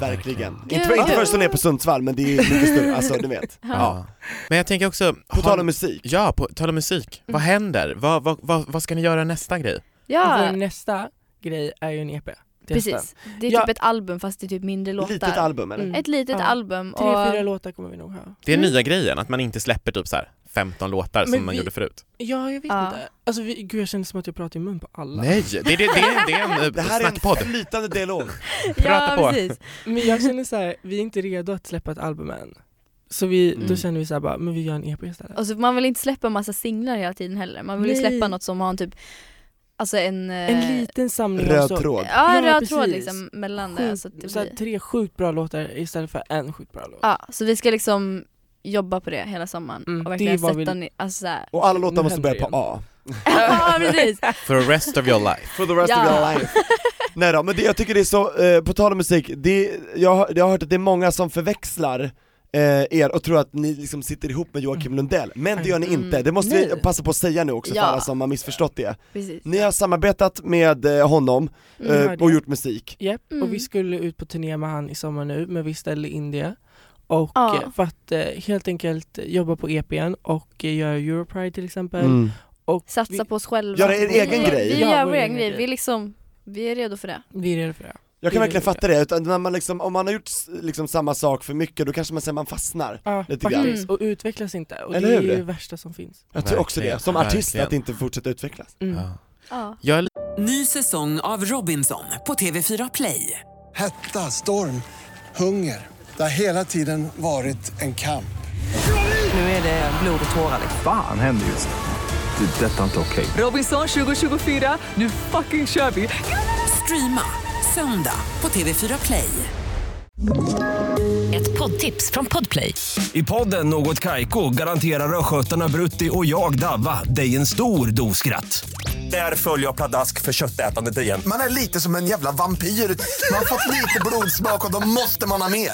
verkligen. Inte, Gud. inte för att slå ner på Sundsvall men det är ju mycket större, alltså du vet. Ja. Ja. Men jag tänker också, På har- tal om musik, Ja, på tal om musik. Mm. Vad händer? Vad, vad, vad, vad ska ni göra nästa grej? Ja, Vår nästa grej är ju en E EP. till hösten. precis. Det är typ Ja. ett album fast det är typ mindre låtar. litet album eller? Mm. Ett litet Ja. album. Tre, och- [LAUGHS] fyra låtar kommer vi nog ha. Det är Mm. nya grejen, att man inte släpper typ så här 15 låtar som Men man vi- gjorde förut. Ja, jag vet Ja. inte. Alltså, vi, gud, jag känner som att jag pratar i mun på alla. Nej, det, det, det, är- det är en eh, Det här är en snackpodd. flytande dialog. Prata på. precis. Men jag känner så här, vi är inte redo att släppa ett album än. Så vi, Mm. då känner vi så här, bara, men vi gör en EP istället. Och så man vill inte släppa en massa singlar hela tiden heller. Man vill ju Nej. släppa något som har en typ, alltså en... eh, En liten samling av Röd så, tråd. Ja, en Ja, röd tråd precis. liksom mellan det. sjukt- Så att det så här, blir... tre sjukt bra låtar istället för en sjukt bra låt. Ja, så vi ska liksom jobba på det hela sommaren Mm, och det verkligen är vad vi- sätta ni, alltså så här, [LAUGHS] Och alla låtar Nu måste händer börja på det A. ja precis. For the rest of your life. For the rest of your Ja. life. Nej då, men det, jag tycker det är så, eh, på tal om musik, det, jag, har- jag har hört att det är många som förväxlar eh, er och tror att ni liksom sitter ihop med Joakim Lundell, men det gör ni inte, det måste vi Nej. passa på att säga nu också Ja. för alla som har missförstått det. precis. Ni har samarbetat med eh, honom eh, hörde och Mm, jag. gjort musik. Japp, Mm. och vi skulle ut på turné med han i sommar nu men vi ställde in det. Och Ja. eh, för att eh, helt enkelt jobba på EPn och eh, göra Europride till exempel. Mm. Och Satsa vi, på oss själva. Göra er Vi- egen grej. Vi Ja, gör vår vår egen egen grej. grej. Vi, är liksom, vi är redo för det. Vi är redo för det. Jag Det kan är verkligen det. fatta det, utan när man liksom, om man har gjort s- liksom samma sak för mycket då kanske man säger man fastnar. Ja, Lite grann. Mm. faktiskt. Och utvecklas inte. Och Eller det är hur? ju det värsta som finns. Jag tror också Verkligen, det, som artist, verkligen. att inte fortsätta utvecklas. Mm. Ja. Ja. Jag är Ny säsong av Robinson på TV4 Play. Hetta, storm, hunger. Det har hela tiden varit en kamp. Nu är det blod och tårar. Fan händer just nu. Det. är Detta är inte okej. Robinson 2024, nu fucking kör vi! Streama söndag på TV4 Play. Ett poddtips från Podplay. I podden Något Kaiko garanterar östgötarna Brutti och jag, Davva, dig en stor dos skratt. Där följer jag pladask för köttätandet igen. Man är lite som en jävla vampyr. Man har fått lite blodsmak och då måste man ha mer.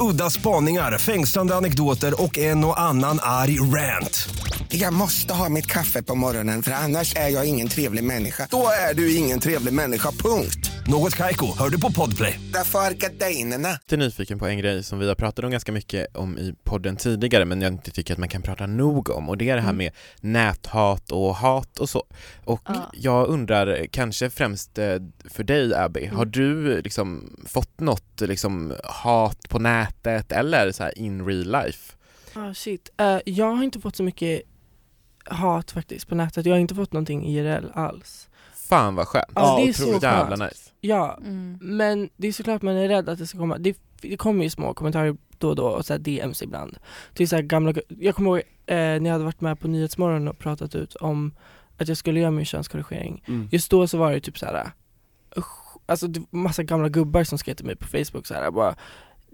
Udda spaningar, fängslande anekdoter och en och annan arg rant. Jag måste ha mitt kaffe på morgonen för annars är jag ingen trevlig människa. Då är du ingen trevlig människa, punkt. Något Kaiko, hör du på Podplay. Därför är gardinerna. lite nyfiken på en grej som vi har pratat om ganska mycket om i podden tidigare men jag inte tycker att man kan prata nog om och det är det här Mm. med näthat och hat och så. Och Ja. jag undrar, eh, kanske främst eh, för dig Abby, Mm. har du eh, liksom fått något eh, liksom, hat på nätet eller så här in real life? Ah, shit. Eh, jag har inte fått så mycket hat faktiskt på nätet. Jag har inte fått någonting IRL alls. Fan vad skönt. Ja, det är otroligt. så Jävla skönt. nice. Ja, Mm. men det är såklart man är rädd att det ska komma. Det, det kommer ju små kommentarer då och då och så här DMs ibland. Till så här gamla, jag kommer ihåg eh, när jag hade varit med på Nyhetsmorgon och pratat ut om att jag skulle göra min könskorrigering. Mm. Just då så var det typ så här. usch, alltså det var massa gamla gubbar som skrev till mig på Facebook så här bara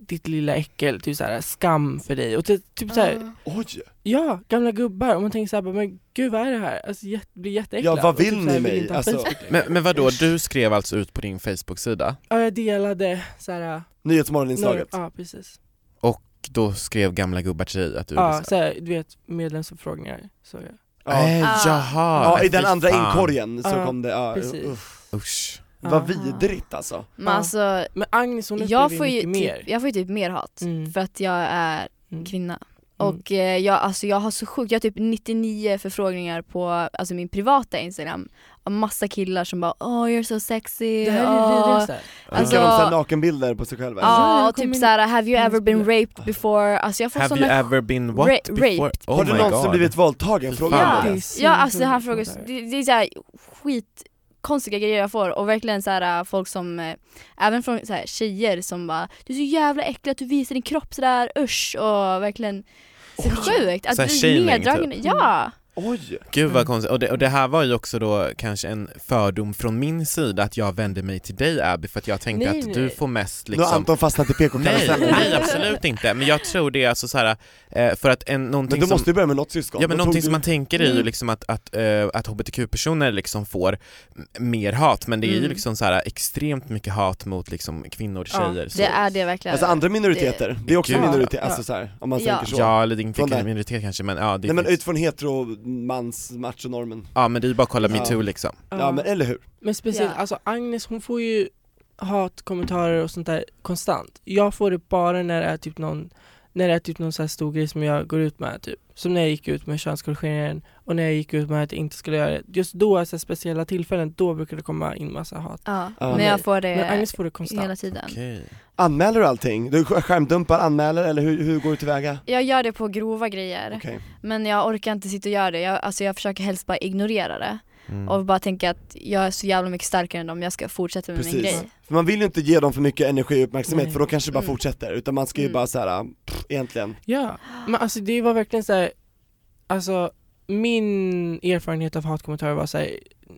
ditt lilla äckel, typ så här skam för dig och det, typ så här, Mm. Oj! Ja, gamla gubbar. Och man tänker såhär, men gud vad är det här? Alltså jätte, blir jätteäcklad. Ja, vad Och typ vill så här, ni mig? inte ha Alltså- Facebook längre. Men, men vadå, du skrev alltså ut på din Facebook-sida Ja, jag delade såhär... Nyhetsmorgoninslaget. Ja, precis. och då skrev gamla gubbar till dig att du Ja, liksom- såhär, du vet medlemsförfrågningar. Så jag. Ja. Eh, Ah. jaha! Ja, nej, i den fy andra fan. inkorgen så Ja, kom det, ja, Precis. uff. Usch. Ja. Vad vidrigt alltså. Men Ja. alltså, Men Agnes hon upplever jag får, ju mycket typ, mer. jag får ju typ mer hat Mm. för att jag är Mm. kvinna. Mm. Och eh, jag, alltså, jag har så sjukt, jag har typ 99 förfrågningar på alltså, min privata Instagram. Av massa killar som bara “Oh you're so sexy”. Det här är åh." det vidrigaste. Alltså- Skickar de såhär nakenbilder på sig själva? Ja, Alltså, jag och typ kommer- såhär “Have you ever been Inspira- raped before?” Alltså jag får Have såna you ever been what Ra- before? raped. Oh har du my någonsin God. blivit våldtagen? Fy Fråga fan. om Ja, det. Det är så ja alltså det här sjukt frågar, sånt där. det, det är såhär skit konstiga grejer jag får och verkligen så här, äh, folk som, äh, även från så här, tjejer som bara Du är så jävla äcklig att du visar din kropp sådär, usch och verkligen så sjukt att Så här bli shaming, typ. neddragen, ja! Oj! Gud vad konstigt, och det, och det här var ju också då kanske en fördom från min sida att jag vände mig till dig Abby för att jag tänkte Nej, att nej. du får mest Nu har liksom Anton fastnat i Nej, PK-karusellen. nej absolut inte, men jag tror det är alltså så här eh, för att en, någonting Men då som måste du börja med något syskon. Ja men Då någonting tog som du- man tänker är ju liksom att, att, eh, att hbtq-personer liksom får m- mer hat, men det är ju Mm. liksom så här extremt mycket hat mot liksom kvinnor, Ja, tjejer. så. Det är det verkligen. Alltså andra minoriteter, det är också Gud. minoriteter, Ja. alltså såhär, om man Ja. tänker så. Ja, eller inte Från där. minoritet kanske, men ja, det Nej men finns- utifrån heteromans machonormen. ja men det är ju bara att kolla Ja. metoo liksom. Ja. Ja. men eller hur? Men speciellt, Ja. alltså Agnes hon får ju hatkommentarer och sånt där konstant. Jag får det bara när det är typ någon, när det är typ någon så här stor grej som jag går ut med typ. Som när jag gick ut med könskorrigeringen och när jag gick ut med att jag inte skulle göra det. Just då, så här speciella tillfällen, då brukar det komma in massa hat. ja. Ja. Men jag får Men det Agnes får det konstant. hela tiden. Okej. Anmäler du allting? Du sk- skärmdumpar, anmäler eller hur, hur går du tillväga? Jag gör det på grova grejer Okej. men jag orkar inte sitta och göra det, jag, alltså jag försöker helst bara ignorera det Mm. och bara tänka att jag är så jävla mycket starkare än dem, jag ska fortsätta med min Precis. grej. För man vill ju inte ge dem för mycket energi och uppmärksamhet Nej. för då kanske det bara Mm. fortsätter, utan man ska ju Mm. bara såhär, pff, egentligen. Ja, men alltså det var verkligen så här, alltså min erfarenhet av hatkommentarer var så här,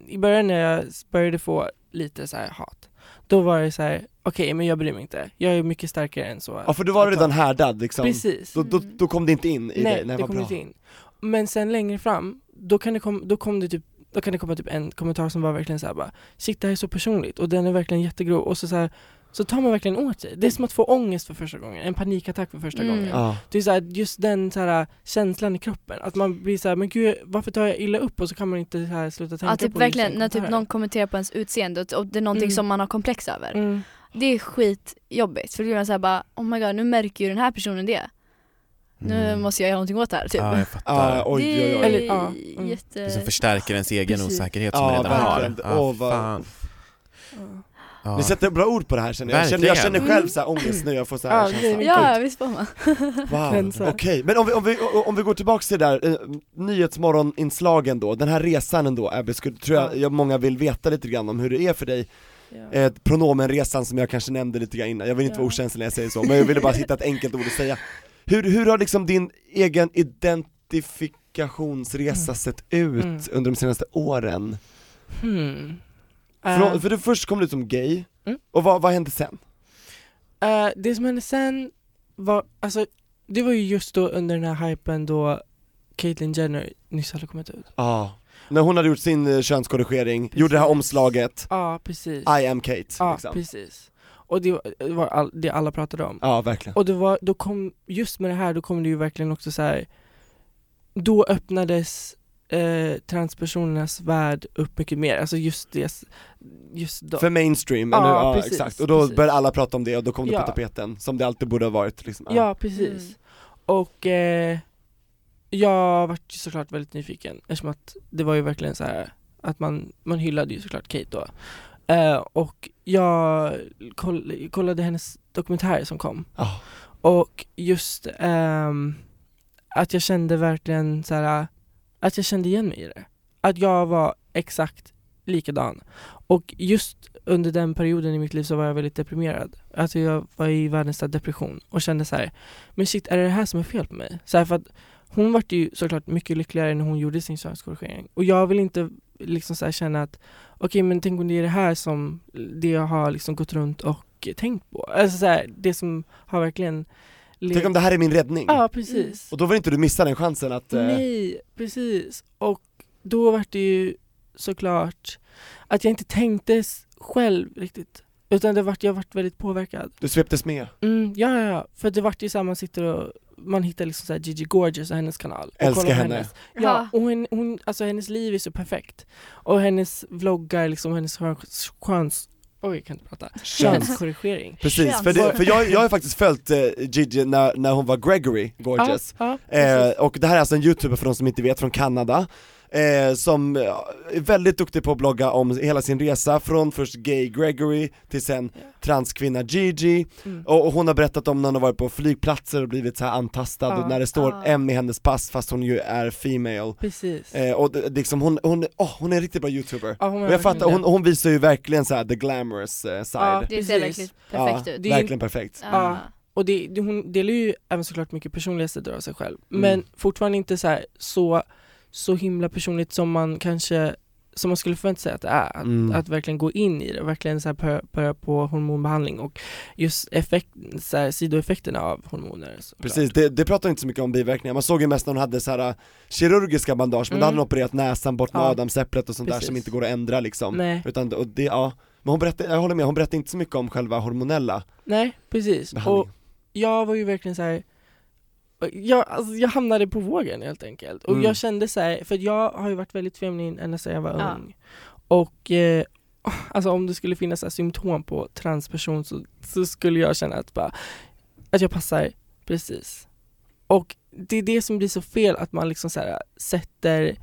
i början när jag började få lite så här hat, då var det så här, okej men jag bryr mig inte, jag är mycket starkare än så. Ja för du var redan härdad liksom. Precis. Då, då, då kom det inte in i Nej, dig, det vad kom bra. inte in. Men sen längre fram, då, kan det kom, då kom det typ då kan det komma typ en kommentar som var verkligen så här bara shit det här är så personligt och den är verkligen jättegrov och så, så, här, så tar man verkligen åt sig. Det är som att få ångest för första gången, en panikattack för första Mm. gången. Ja. Det är så här, just den så här, känslan i kroppen, att man blir så här, men gud varför tar jag illa upp och så kan man inte så här, sluta tänka Ja, typ på verkligen liksom när typ kommentarer. någon kommenterar på ens utseende och- och det är någonting Mm. som man har komplex över. mm. Det är skitjobbigt för då blir man såhär bara oh my god nu märker ju den här personen det. Nu Mm. måste jag göra någonting åt det här typ. Ja, jag fattar. Ah, oj, det oj, är oj. Eller- ja, mm. jätte... Det som förstärker ens egen Precis. osäkerhet som Ja, man redan har. verkligen. Ah, Åh, vad- fan. Ja. Ni sätter bra ord på det här känner jag, jag känner, jag Verkligen. känner själv så här ångest nu, jag får så här Mm. Ja, känsla. det är mycket. ja visst får man. Wow, Rensar. okej. Men om vi, om, vi, om vi går tillbaks till det där eh, nyhetsmorgoninslagen då, den här resan ändå Abby, skulle, tror jag, jag många vill veta lite grann om hur det är för dig, Ja. eh, pronomenresan som jag kanske nämnde lite grann innan, jag vill inte vara Ja. okänslig när jag säger så, men jag ville bara hitta ett enkelt ord att säga. Hur, hur har liksom din egen identifikationsresa sett ut Mm. under de senaste åren? Hmm. Från, Eh, för du först kom du ut som gay, Mm. och vad, vad hände sen? Eh, det som hände sen var, alltså det var ju just då under den här hypen då Caitlyn Jenner nyss hade kommit ut. Ja, när hon hade gjort sin eh, könskorrigering, gjorde det här omslaget, Ja, precis. I am Kate Ja, liksom. precis. Och det var, det var all, det alla pratade om. Ja, verkligen. Och det var, då kom, just med det här, då kom det ju verkligen också så här. då öppnades eh, transpersonernas värld upp mycket mer, alltså just det, just då. För mainstream, Ja, eller, ja, precis, exakt. Och då precis. började alla prata om det och då kom det på Ja. tapeten, som det alltid borde ha varit liksom. Ja, precis. Mm. Och eh, jag vart ju såklart väldigt nyfiken eftersom att det var ju verkligen så här att man, man hyllade ju såklart Kate då. Eh, och jag koll, kollade hennes dokumentär som kom Ja. och just ehm, att jag kände verkligen så här att jag kände igen mig i det. Att jag var exakt likadan. Och just under den perioden i mitt liv så var jag väldigt deprimerad. Alltså jag var i världens största depression och kände så här, men shit är det det här som är fel på mig? Så här för att hon vart ju såklart mycket lyckligare när hon gjorde sin könskorrigering. Och jag vill inte liksom så här känna att okej men tänk om det är det här som det jag har liksom gått runt och tänkt på. Alltså så här, det som har verkligen Tänk om det här är min räddning. Ja precis. Och då vill inte du missa den chansen att, eh, Nej, precis. Och då var det ju såklart att jag inte tänkte s- själv riktigt. Utan det vart, jag vart väldigt påverkad. du sveptes med. Mm, ja, ja, ja. För det vart ju så här, man sitter och man hittar liksom så här Gigi Gorgeous och hennes kanal. Och Älskar kollar på henne. Hennes, Ja. ja, och hon, hon, alltså hennes liv är så perfekt. Och hennes vloggar, liksom hennes chans... chans oj, jag kan inte prata. Könskorrigering. Precis, för, det, för jag, jag har faktiskt följt eh, Gigi när, när hon var Gregory Gorgeous. Ja, ja, Eh, precis. och det här är alltså en youtuber för de som inte vet, från Kanada eh, Som eh, är väldigt duktig på att blogga om hela sin resa, från först gay Gregory till sen Ja. transkvinna Gigi Mm. och, och hon har berättat om när hon har varit på flygplatser och blivit så här antastad Ja. och när det står Ah. Ja. M i hennes pass fast hon ju är female precis. eh, Och det, det liksom hon, hon, åh, hon är en riktigt bra youtuber Ja, hon har Och jag fattar, verkligen- hon, hon visar ju verkligen så här the glamorous eh, side Ja, Det ser Precis. verkligen perfekt Ja, ut. Det är ju- verkligen perfekt Ja. Och det, det, hon delar ju även såklart mycket personliga sidor av sig själv. Mm. Men fortfarande inte så, här, så, så himla personligt som man kanske som man skulle förvänta sig att det är. Att, Mm. att verkligen gå in i det och verkligen så här börja, börja på hormonbehandling och just effekt, så här, sidoeffekterna av hormoner. såklart. Precis, det, det pratar inte så mycket om biverkningar, man såg ju mest när hon hade så här äh, kirurgiska bandage, men då Mm. hade hon opererat näsan bort med Ja. adamsäpplet och sånt där Precis. som inte går att ändra liksom Nej, Utan, och det, ja, men hon berättade, jag håller med, hon berättade inte så mycket om själva hormonella nej precis. Och behandlingen jag var ju verkligen så här. Jag, alltså, jag hamnade på vågen helt enkelt. Och Mm. jag kände så här, för jag har ju varit väldigt feminin ända sedan jag var Ja. ung. Och eh, alltså om det skulle finnas så här symptom på transperson så, så skulle jag känna att, bara, att jag passar precis. Och det är det som blir så fel att man liksom så här, sätter,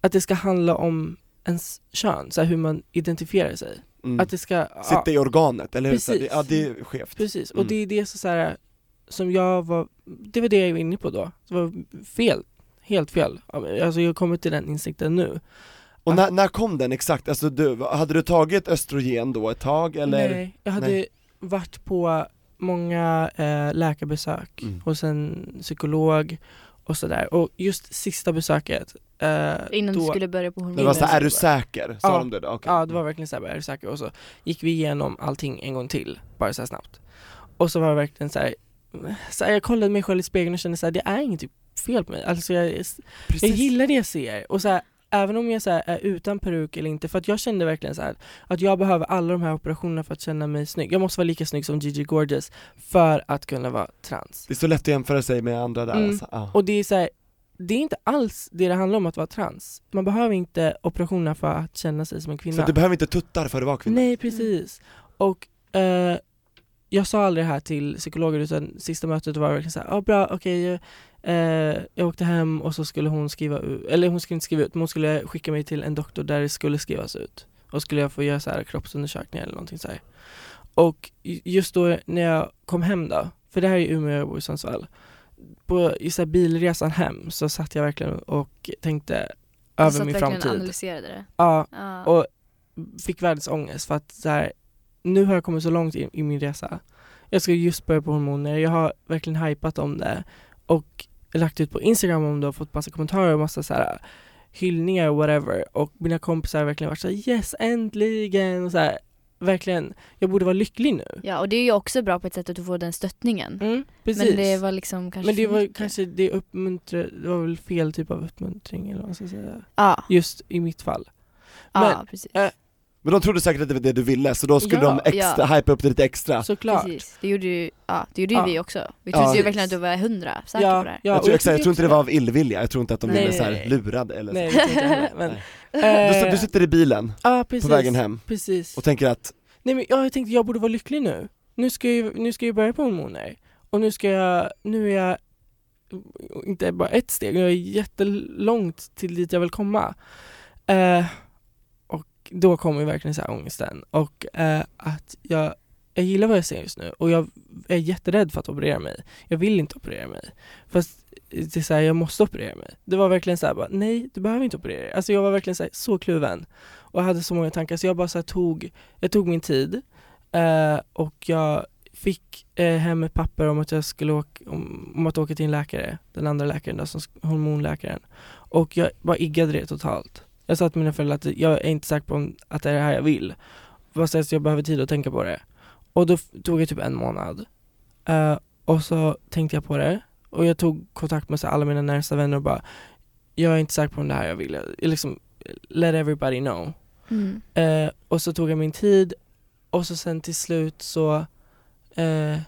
att det ska handla om ens kön, så här, hur man identifierar sig. mm. Att det ska, ja. Sitta i organet, eller hur? Så här, det- Precis. Ja det är skevt Precis, och Mm. det är det så, så här, som jag var, det var det jag var inne på då. Det var fel, helt fel. Alltså jag har kommit till den insikten nu. Och när, när kom den exakt? Alltså du, hade du tagit östrogen då ett tag eller? Nej, jag hade Nej. varit på många eh, läkarbesök Mm. och sen psykolog och sådär. Och just sista besöket, eh, Innan då, du skulle börja på Det var hormoner. så här, är du säker? Sa Ja. de det då? Okej. Ja, det var verkligen såhär, är du säker? Och så gick vi igenom allting en gång till, bara såhär snabbt. Och så var det verkligen såhär, såhär, jag kollade typ mig själv i spegeln och kände såhär, det är inget fel på mig. Alltså jag, Precis. Jag gillar det jag ser och så här, även om jag så här, är utan peruk eller inte, för att jag kände verkligen så här, att jag behöver alla de här operationerna för att känna mig snygg. Jag måste vara lika snygg som Gigi Gorgeous för att kunna vara trans. Det är så lätt att jämföra sig med andra där Mm. alltså. ja. Och det är så här, det är inte alls det det handlar om att vara trans. Man behöver inte operationer för att känna sig som en Så kvinna. att du behöver inte tuttar för att vara kvinna? Nej precis. Och eh, jag sa aldrig det här till psykologen utan sista mötet var verkligen såhär, ah, bra okej, eh, jag åkte hem och så skulle hon skriva ut, eller hon skulle inte skriva ut men hon skulle skicka mig till en doktor där det skulle skrivas ut. Och skulle jag få göra så här kroppsundersökningar eller någonting så här. Och ju- just då när jag kom hem då, för det här är ju Umeå, jag bor i Sundsvall. På i så här bilresan hem så satt jag verkligen och tänkte Du över satt min verkligen och framtid. analyserade det. Ja, Ja. och fick världsångest för att så här, nu har jag kommit så långt i, i min resa. Jag ska just börja på hormoner, jag har verkligen hypat om det och lagt ut på Instagram om det och fått massa kommentarer och massa så här hyllningar och whatever och mina kompisar har verkligen varit så här, yes äntligen och så här, verkligen, jag borde vara lycklig nu. Ja och det är ju också bra på ett sätt att du får den stöttningen. Mm, precis. Men det var liksom kanske Men det för var mycket. kanske det uppmuntra, det var väl fel typ av uppmuntring eller vad man ska säga. Ja, Just i mitt fall. ja Men- precis. Men de trodde säkert att det var det du ville, så då skulle Ja, de extra, ja. hypa upp det lite extra Såklart. Precis. Det gjorde ju, ja, det gjorde ju Ja. vi också. Vi Ja. trodde ju Precis. verkligen att du var hundra säker Ja, på det här. ja, jag, och tror, jag exakt, jag tycker tror inte det också- var av illvilja, jag tror inte att de Nej, ville så här nej. lurad eller så. Nej, det tänkte jag heller, men, Du, eh, sitter- du sitter i bilen ja, precis, på vägen hem Precis. och tänker att, Nej men ja, jag tänkte jag borde vara lycklig nu. Nu ska jag, ju- nu ska jag börja på hormoner. Och nu ska jag, nu är jag eh, inte bara ett steg, jag är jättelångt till dit jag vill komma. Eh, och då kommer ju verkligen så här ångesten. Och eh, att jag, jag gillar vad jag ser just nu och jag är jätterädd för att operera mig. Jag vill inte operera mig. Fast eh, det är så här, jag måste operera mig. Det var verkligen så här, bara, nej du behöver inte operera dig. Alltså jag var verkligen så, här, så kluven. Och jag hade så många tankar så jag bara så här, tog jag tog min tid eh, och jag fick eh, hem ett papper om att jag skulle åka, om, om att åka till en läkare, den andra läkaren då, som, sk- hormonläkaren. Och jag bara iggade det totalt. Jag sa till mina föräldrar att jag är inte säker på om, att det är det här jag vill. Fast alltså, jag behöver tid att tänka på det. Och då f- tog jag typ en månad. Eh, och så tänkte jag på det och jag tog kontakt med så här, alla mina närmsta vänner och bara jag är inte säker på om det här jag vill. Jag, liksom, let everybody know. Mm. Eh, och så tog jag min tid och så sen till slut så, eh,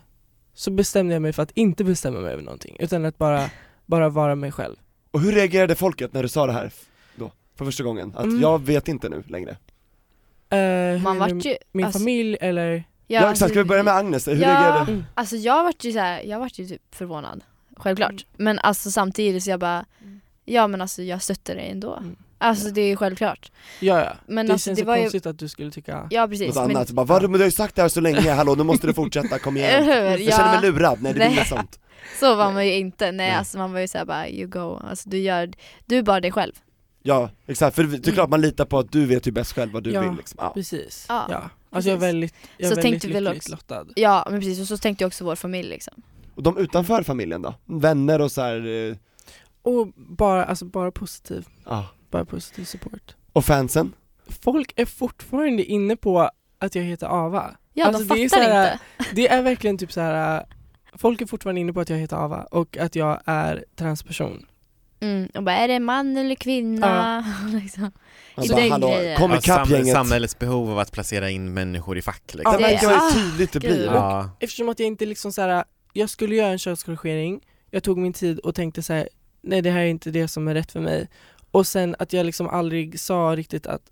så bestämde jag mig för att inte bestämma mig över någonting utan att bara, bara vara mig själv. och hur reagerade folket när du sa det här f- då, för första gången? Att Mm. jag vet inte nu längre Eh, hur Man är vart det med ju, min alltså- familj eller? Ja, exakt, ska vi börja med Agnes? Hur ja, reagerade Mm. alltså jag vart ju så här, jag vart ju typ förvånad. Självklart. Mm. Men alltså samtidigt så jag bara, ja men alltså jag stöttar dig ändå. Mm. Alltså det är ju självklart. Ja, ja. Men det alltså känns det så var ju, konstigt att du skulle tycka ja något precis. annat? Bara, vad, men du har ju sagt det här så [LAUGHS] länge, hallå nu måste du fortsätta, kom Eller igen hur? Jag känner Ja. mig lurad, nej det är Nej. inget sånt Så var man ju inte, nej, Nej. alltså man var ju såhär bara you go, alltså du gör, du är bara dig själv. Ja, exakt, för det är klart man litar på att du vet ju bäst själv vad du Ja. vill liksom. ja. Precis. Ja, ja. Alltså jag är precis. väldigt, jag är Så väldigt tänkte vi väl lyckligt också- lottad. Ja men precis, och så tänkte jag också vår familj liksom. Och de utanför familjen då? Vänner och så här, eh, Och bara, alltså bara positiv, ja. bara positiv support. och fansen? Folk är fortfarande inne på att jag heter Ava. Ja Alltså, de det är fattar så här- inte. Det är verkligen typ så här. äh, folk är fortfarande inne på att jag heter Ava och att jag är transperson. Mm, och bara är det man eller kvinna? [LAUGHS] liksom. Man Så bara, den hallå, grejen. kom Ja, ikapp sam- gänget! samhällets behov av att placera in människor i fack liksom. Det Ja, märker man Ah, ju tydligt det blir. gud. Ja. Eftersom att jag inte liksom så här. äh, jag skulle göra en könskorrigering, jag tog min tid och tänkte så här, nej det här är inte det som är rätt för mig. Och sen att jag liksom aldrig sa riktigt att,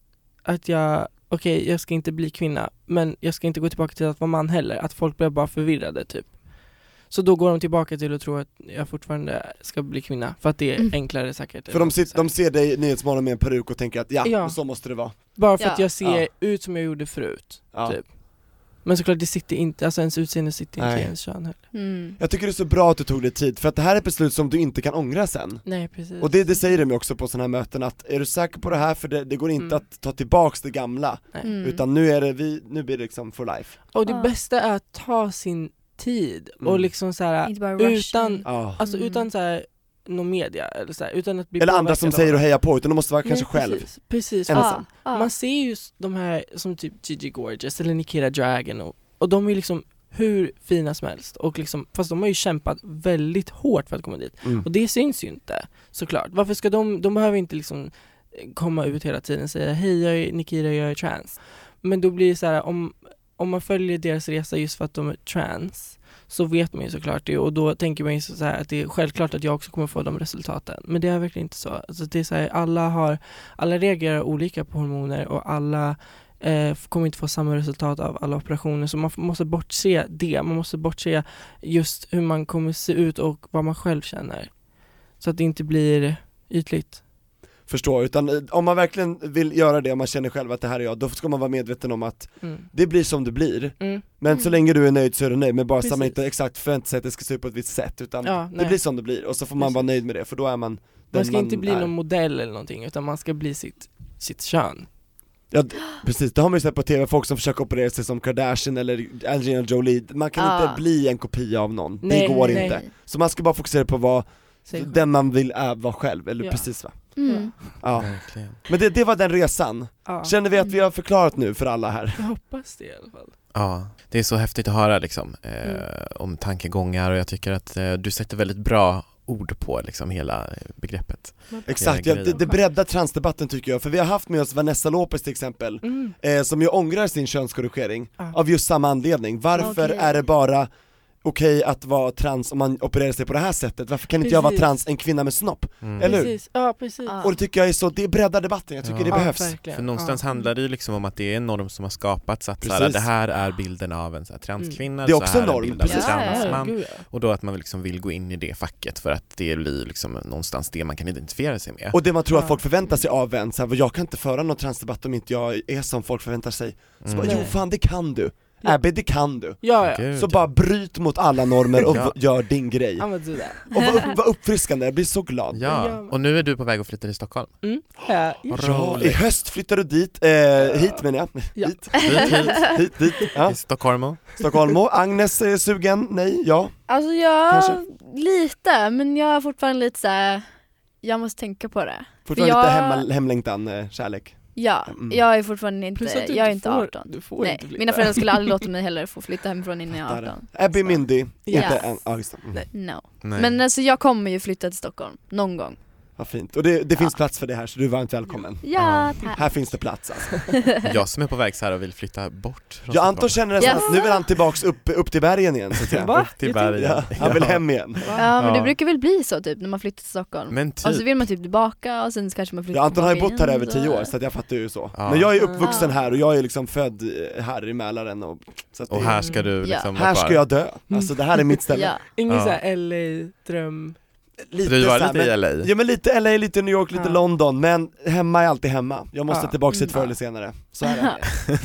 att jag, okej jag ska inte bli kvinna, men jag ska inte gå tillbaka till att vara man heller, att folk blev bara förvirrade typ. Så då går de tillbaka till att tro att jag fortfarande ska bli kvinna, för att det är Mm. enklare säkert. För de, sit, Så här. de ser dig i Nyhetsmorgon med en peruk och tänker att ja, Ja. och så måste det vara. Bara för Ja. att jag ser Ja. ut som jag gjorde förut. Ja. Typ. Men såklart, det sitter inte, alltså ens utseende sitter inte Nej. i ens kön heller. Mm. Jag tycker det är så bra att du tog dig tid, för att det här är ett beslut som du inte kan ångra sen. Nej precis. Och det, det säger de ju också på sådana här möten att, är du säker på det här? För det, det går inte Mm. att ta tillbaks det gamla, Mm. utan nu är det, vi, nu blir det liksom for life. och det Ja. bästa är att ta sin tid Mm. och liksom såhär, Inte bara utan- rush. Ja. alltså Mm. utan såhär någon media eller såhär, utan att bli Eller andra påverkad som av- säger och hejar på, utan de måste vara kanske Nej, själv. Precis, precis. Ensam. Ja. Man ser ju s- de här som typ Gigi Gorgeous eller Nikita Dragon och, och de är liksom hur fina som helst och liksom, fast de har ju kämpat väldigt hårt för att komma dit. Mm. Och det syns ju inte såklart. Varför ska de, de behöver inte liksom komma ut hela tiden och säga hej jag är Nikita, jag är trans. Men då blir det så här, om, om man följer deras resa just för att de är trans så vet man ju såklart det och då tänker man ju så här att det är självklart att jag också kommer få de resultaten. Men det är verkligen inte så. Alltså det är så här, alla, har, alla reagerar olika på hormoner och alla eh, kommer inte få samma resultat av alla operationer så man f- måste bortse det. Man måste bortse just hur man kommer se ut och vad man själv känner. Så att det inte blir ytligt. förstår, utan eh, om man verkligen vill göra det, om man känner själv att det här är jag, då ska man vara medveten om att Mm. det blir som det blir. Mm. Men så länge du är nöjd så är du nöjd, men bara så att man Precis. inte exakt förväntar sig att det ska se ut på ett visst sätt utan Ja, det nej. blir som det blir och så får man Precis. vara nöjd med det för då är man den Man ska inte bli är. någon modell eller någonting utan man ska bli sitt, sitt kön. Ja, d- precis, det har man ju sett på tv, folk som försöker operera sig som Kardashian eller Angelina Jolie, man kan Ja. inte bli en kopia av någon, Ah. Nej, det går nej. inte. Så man ska bara fokusera på vad, Sig själv. den man vill är, vara själv, eller Ja. precis va? Mm. Ja. Verkligen. Men det, det var den resan, Ja. Mm. känner vi att vi har förklarat nu för alla här? Jag hoppas det i alla fall. Ja, det är så häftigt att höra liksom, eh, Mm. om tankegångar och jag tycker att eh, du sätter väldigt bra ord på liksom, hela eh, begreppet. Exakt, ja, Hela det, grejen. det breddar transdebatten tycker jag, för vi har haft med oss Vanessa Lopez till exempel, Mm. eh, som ju ångrar sin könskorrigering Ja. av just samma anledning. Varför Okej. är det bara okej att vara trans om man opererar sig på det här sättet? Varför kan inte jag vara Precis. trans, en kvinna med snopp? Mm. Eller hur? Precis. Ja, precis. Ja. Och det tycker jag är så, det breddar debatten, jag tycker Ja. det Ja, behövs. verkligen. För någonstans Ja. handlar det ju liksom om att det är en norm som har skapats, att så här, Precis. det här är bilden av en så här, transkvinna, Det är också så här en norm, bilden av en precis. Ja, ja, ja. transman. Gud, ja. Och då att man liksom vill gå in i det facket för att det blir liksom någonstans det man kan identifiera sig med. Och det man tror att Ja. folk förväntar sig av en, så här, jag kan inte föra någon transdebatt om inte jag är som folk förväntar sig. Så Mm. bara, Nej. jo fan det kan du, Mm. Ja. Abbe det kan du. Ja, ja. Gud, Så ja. bara bryt mot alla normer och [LAUGHS] Ja. gör din grej. Ja, men du där. Och [LAUGHS] vad, upp, vad uppfriskande, jag blir så glad. Ja, och nu är du på väg att flytta till Stockholm. Mm. Ja. Vad Ja, I roligt. höst flyttar du dit, eh, hit menar jag. Ja. Hit, Hit, hit, hit, dit. Ja. i Stockholm. Stockholm och Agnes är sugen, nej, ja. Alltså jag, Kanske. lite, men jag är fortfarande lite så här. jag måste tänka på det. Fortfarande Jag- lite hemma, hemlängtan, eh, kärlek. Ja, Mm. jag är fortfarande inte, Plus att du jag är inte inte får- 18. du får Nej, inte flytta. mina föräldrar skulle aldrig låta mig heller få flytta hemifrån innan jag är 18. Abby Mindy, Ja. inte en, ja just det. Mm. No. Nej. [LAUGHS] Men alltså jag kommer ju flytta till Stockholm, någon gång. Vad fint, och det, det finns plats för det här så du är varmt välkommen. Ja, tack. Här finns det plats alltså. Jag som är på väg så här och vill flytta bort från Ja Anton Stockholm. känner nästan Yes. att nu är han tillbaks upp, upp till bergen igen så att [LAUGHS] säga. Va? till Jag bergen. Ja, han vill hem igen. Ja men Ja. det brukar väl bli så typ när man flyttar till Stockholm. Men typ. Och så vill man typ tillbaka och sen så kanske man flyttar Ja, Anton har ju tillbaka bott här igen, över tio så- år så att jag fattar ju så. Ja. Men jag är uppvuxen här och jag är liksom född eh, här i Mälaren och så att Och det- här ska du Ja. liksom här vara ska kvar. jag dö. Alltså det här är mitt ställe. Ja. Ingen Ja. så här LA-dröm. Lite Du var så här, lite i men, LA. Ja men lite LA, lite New York, lite Ja. London, men hemma är alltid hemma. Jag måste Ja. tillbaks hit Mm. förr eller senare. Så här är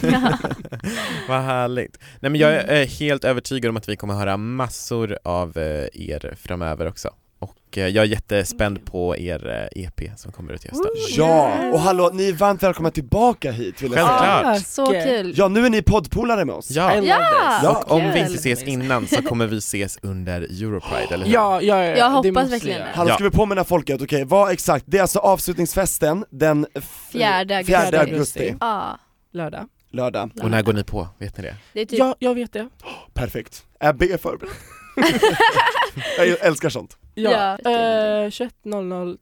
det. [LAUGHS] Vad härligt. Nej men jag är eh, helt övertygad om att vi kommer höra massor av eh, er framöver också. Och eh, jag är jättespänd på er eh, EP som kommer ut i hösten. [LAUGHS] Ja, och hallå, ni är varmt välkomna tillbaka hit vill jag säga. Självklart. Ah, Så okej. kul! Ja nu är ni poddpolare med oss. I Ja, love Ja! this. Ja. och om vi inte kul. ses innan så kommer vi ses under Europride, eller hur? Ja, ja, ja. Jag det hoppas måste vi verkligen göra. det. Hallå Ja. ska vi påminna folket, okej vad exakt, det är alltså avslutningsfesten den f- Fjärde augusti. fjärde augusti, Ja, Lördag. lördag. Och när går ni på? Vet ni det? det är typ Ja, jag vet det. Perfekt. Abby är förberedd. [LAUGHS] jag älskar sånt. Ja. Ja. Eh, 21.00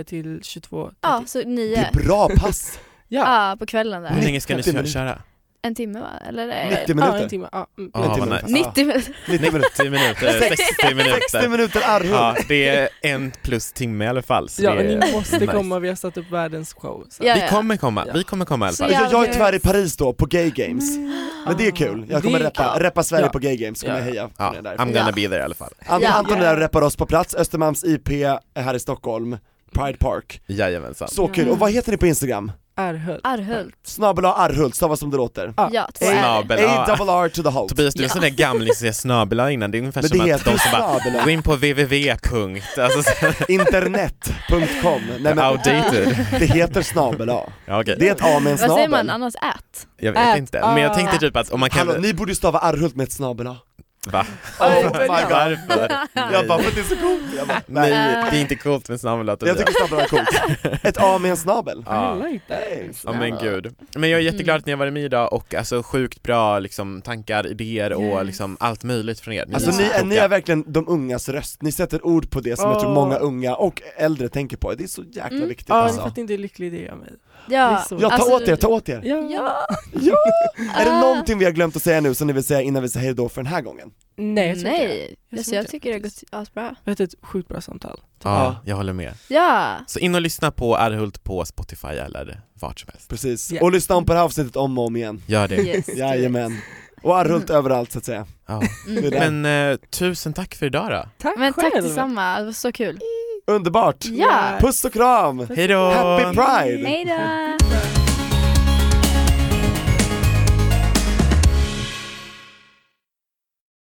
eh, till 22.30. Ja, så Det nio. är bra pass. Ja, Ja, på kvällen där. Hur länge ska ni 90 minuter. köra? En timme va? Eller? 90 eh, ja en minuter. timme. Ja, mm. Ja, En timme. vad nice. 90 minuter. 90 [LAUGHS] minuter, 60 60 minuter. minuter Arhult. Ja, det är en plus timme i alla fall. Så ja det är ni måste nice. komma, vi har satt upp världens show. Så. Ja, Vi kommer komma, Ja. vi kommer komma i alla Så fall. Alltså, Jag, jag är Ja, Mm. tyvärr i Paris då, på Gay Games. Men det är kul, jag kommer Det är reppa, kul. reppa Sverige Ja. på Gay Games, kommer Ja. jag heja Ja, från er I'm där. gonna Ja. be there i alla fall. Ant- Ja. Anton är där och reppar oss på plats, Östermalms IP är här i Stockholm, Pride Park. Jajamensan. Så Mm. kul, och vad heter ni på Instagram? Ärhult. Arhult. Snabel A Arhult, stavas som det låter. Ja. Ja, två [LAUGHS] R. Snabel, ja. A-double-R to the halt. Tobias, du är en sån där gamling som säger snabel-a innan, det är ungefär Men som det att heter de ju som bara [LAUGHS] snabel-a. gå in på www. Alltså, så- Internet.com, nej men outdated. det heter snabel A. Ja, okej. Det är ett A med en Vad säger man snabel. annars? Ät? Jag vet Ät, inte, men jag tänkte ah. typ att om man Hallå, kan... ni borde stava Arhult med ett snabel A. Va? Oh my my god. god. Varför? Jag bara, för att det är så coolt! Jag bara, Nej, nej. det är inte coolt med snabel Jag tycker snabel är [LAUGHS] coolt. Ett A med en snabel. Ja. I like that. Ah, Ja men gud. Men jag är jätteglad att ni har varit med idag och alltså sjukt bra liksom, tankar, idéer och liksom, allt möjligt från er. Alltså så ni, är- ni kloka. är verkligen de ungas röst, ni sätter ord på det som jag tror Åh. många unga och äldre tänker på, det är så jäkla Mm. viktigt Ja, ni alltså. fattar inte hur lycklig det gör mig. Ja, Det är så- Ja, ta alltså- åt er, ta åt er! Ja. Ja. Är det någonting vi har glömt att säga nu som ni vill säga innan vi säger hejdå för den här gången? Nej, jag tror inte det. Nej, Jag alltså, tror jag inte tycker det har faktiskt. gått asbra. Vi har haft ett sjukt bra samtal. Ja, jag håller med. Ja, Så in och lyssna på Erhult på Spotify eller vart som helst. Precis, Ja. och lyssna om på det här avsnittet om och om igen. Gör det. yes. Jajamän. Och Arrult överallt så att säga. [LAUGHS] Ja. Det är det. Men eh, tusen tack för idag då. Tack Men själv. tack detsamma, det var så kul. Underbart! Ja, Puss och kram! Hej då! Happy Pride! hejdå!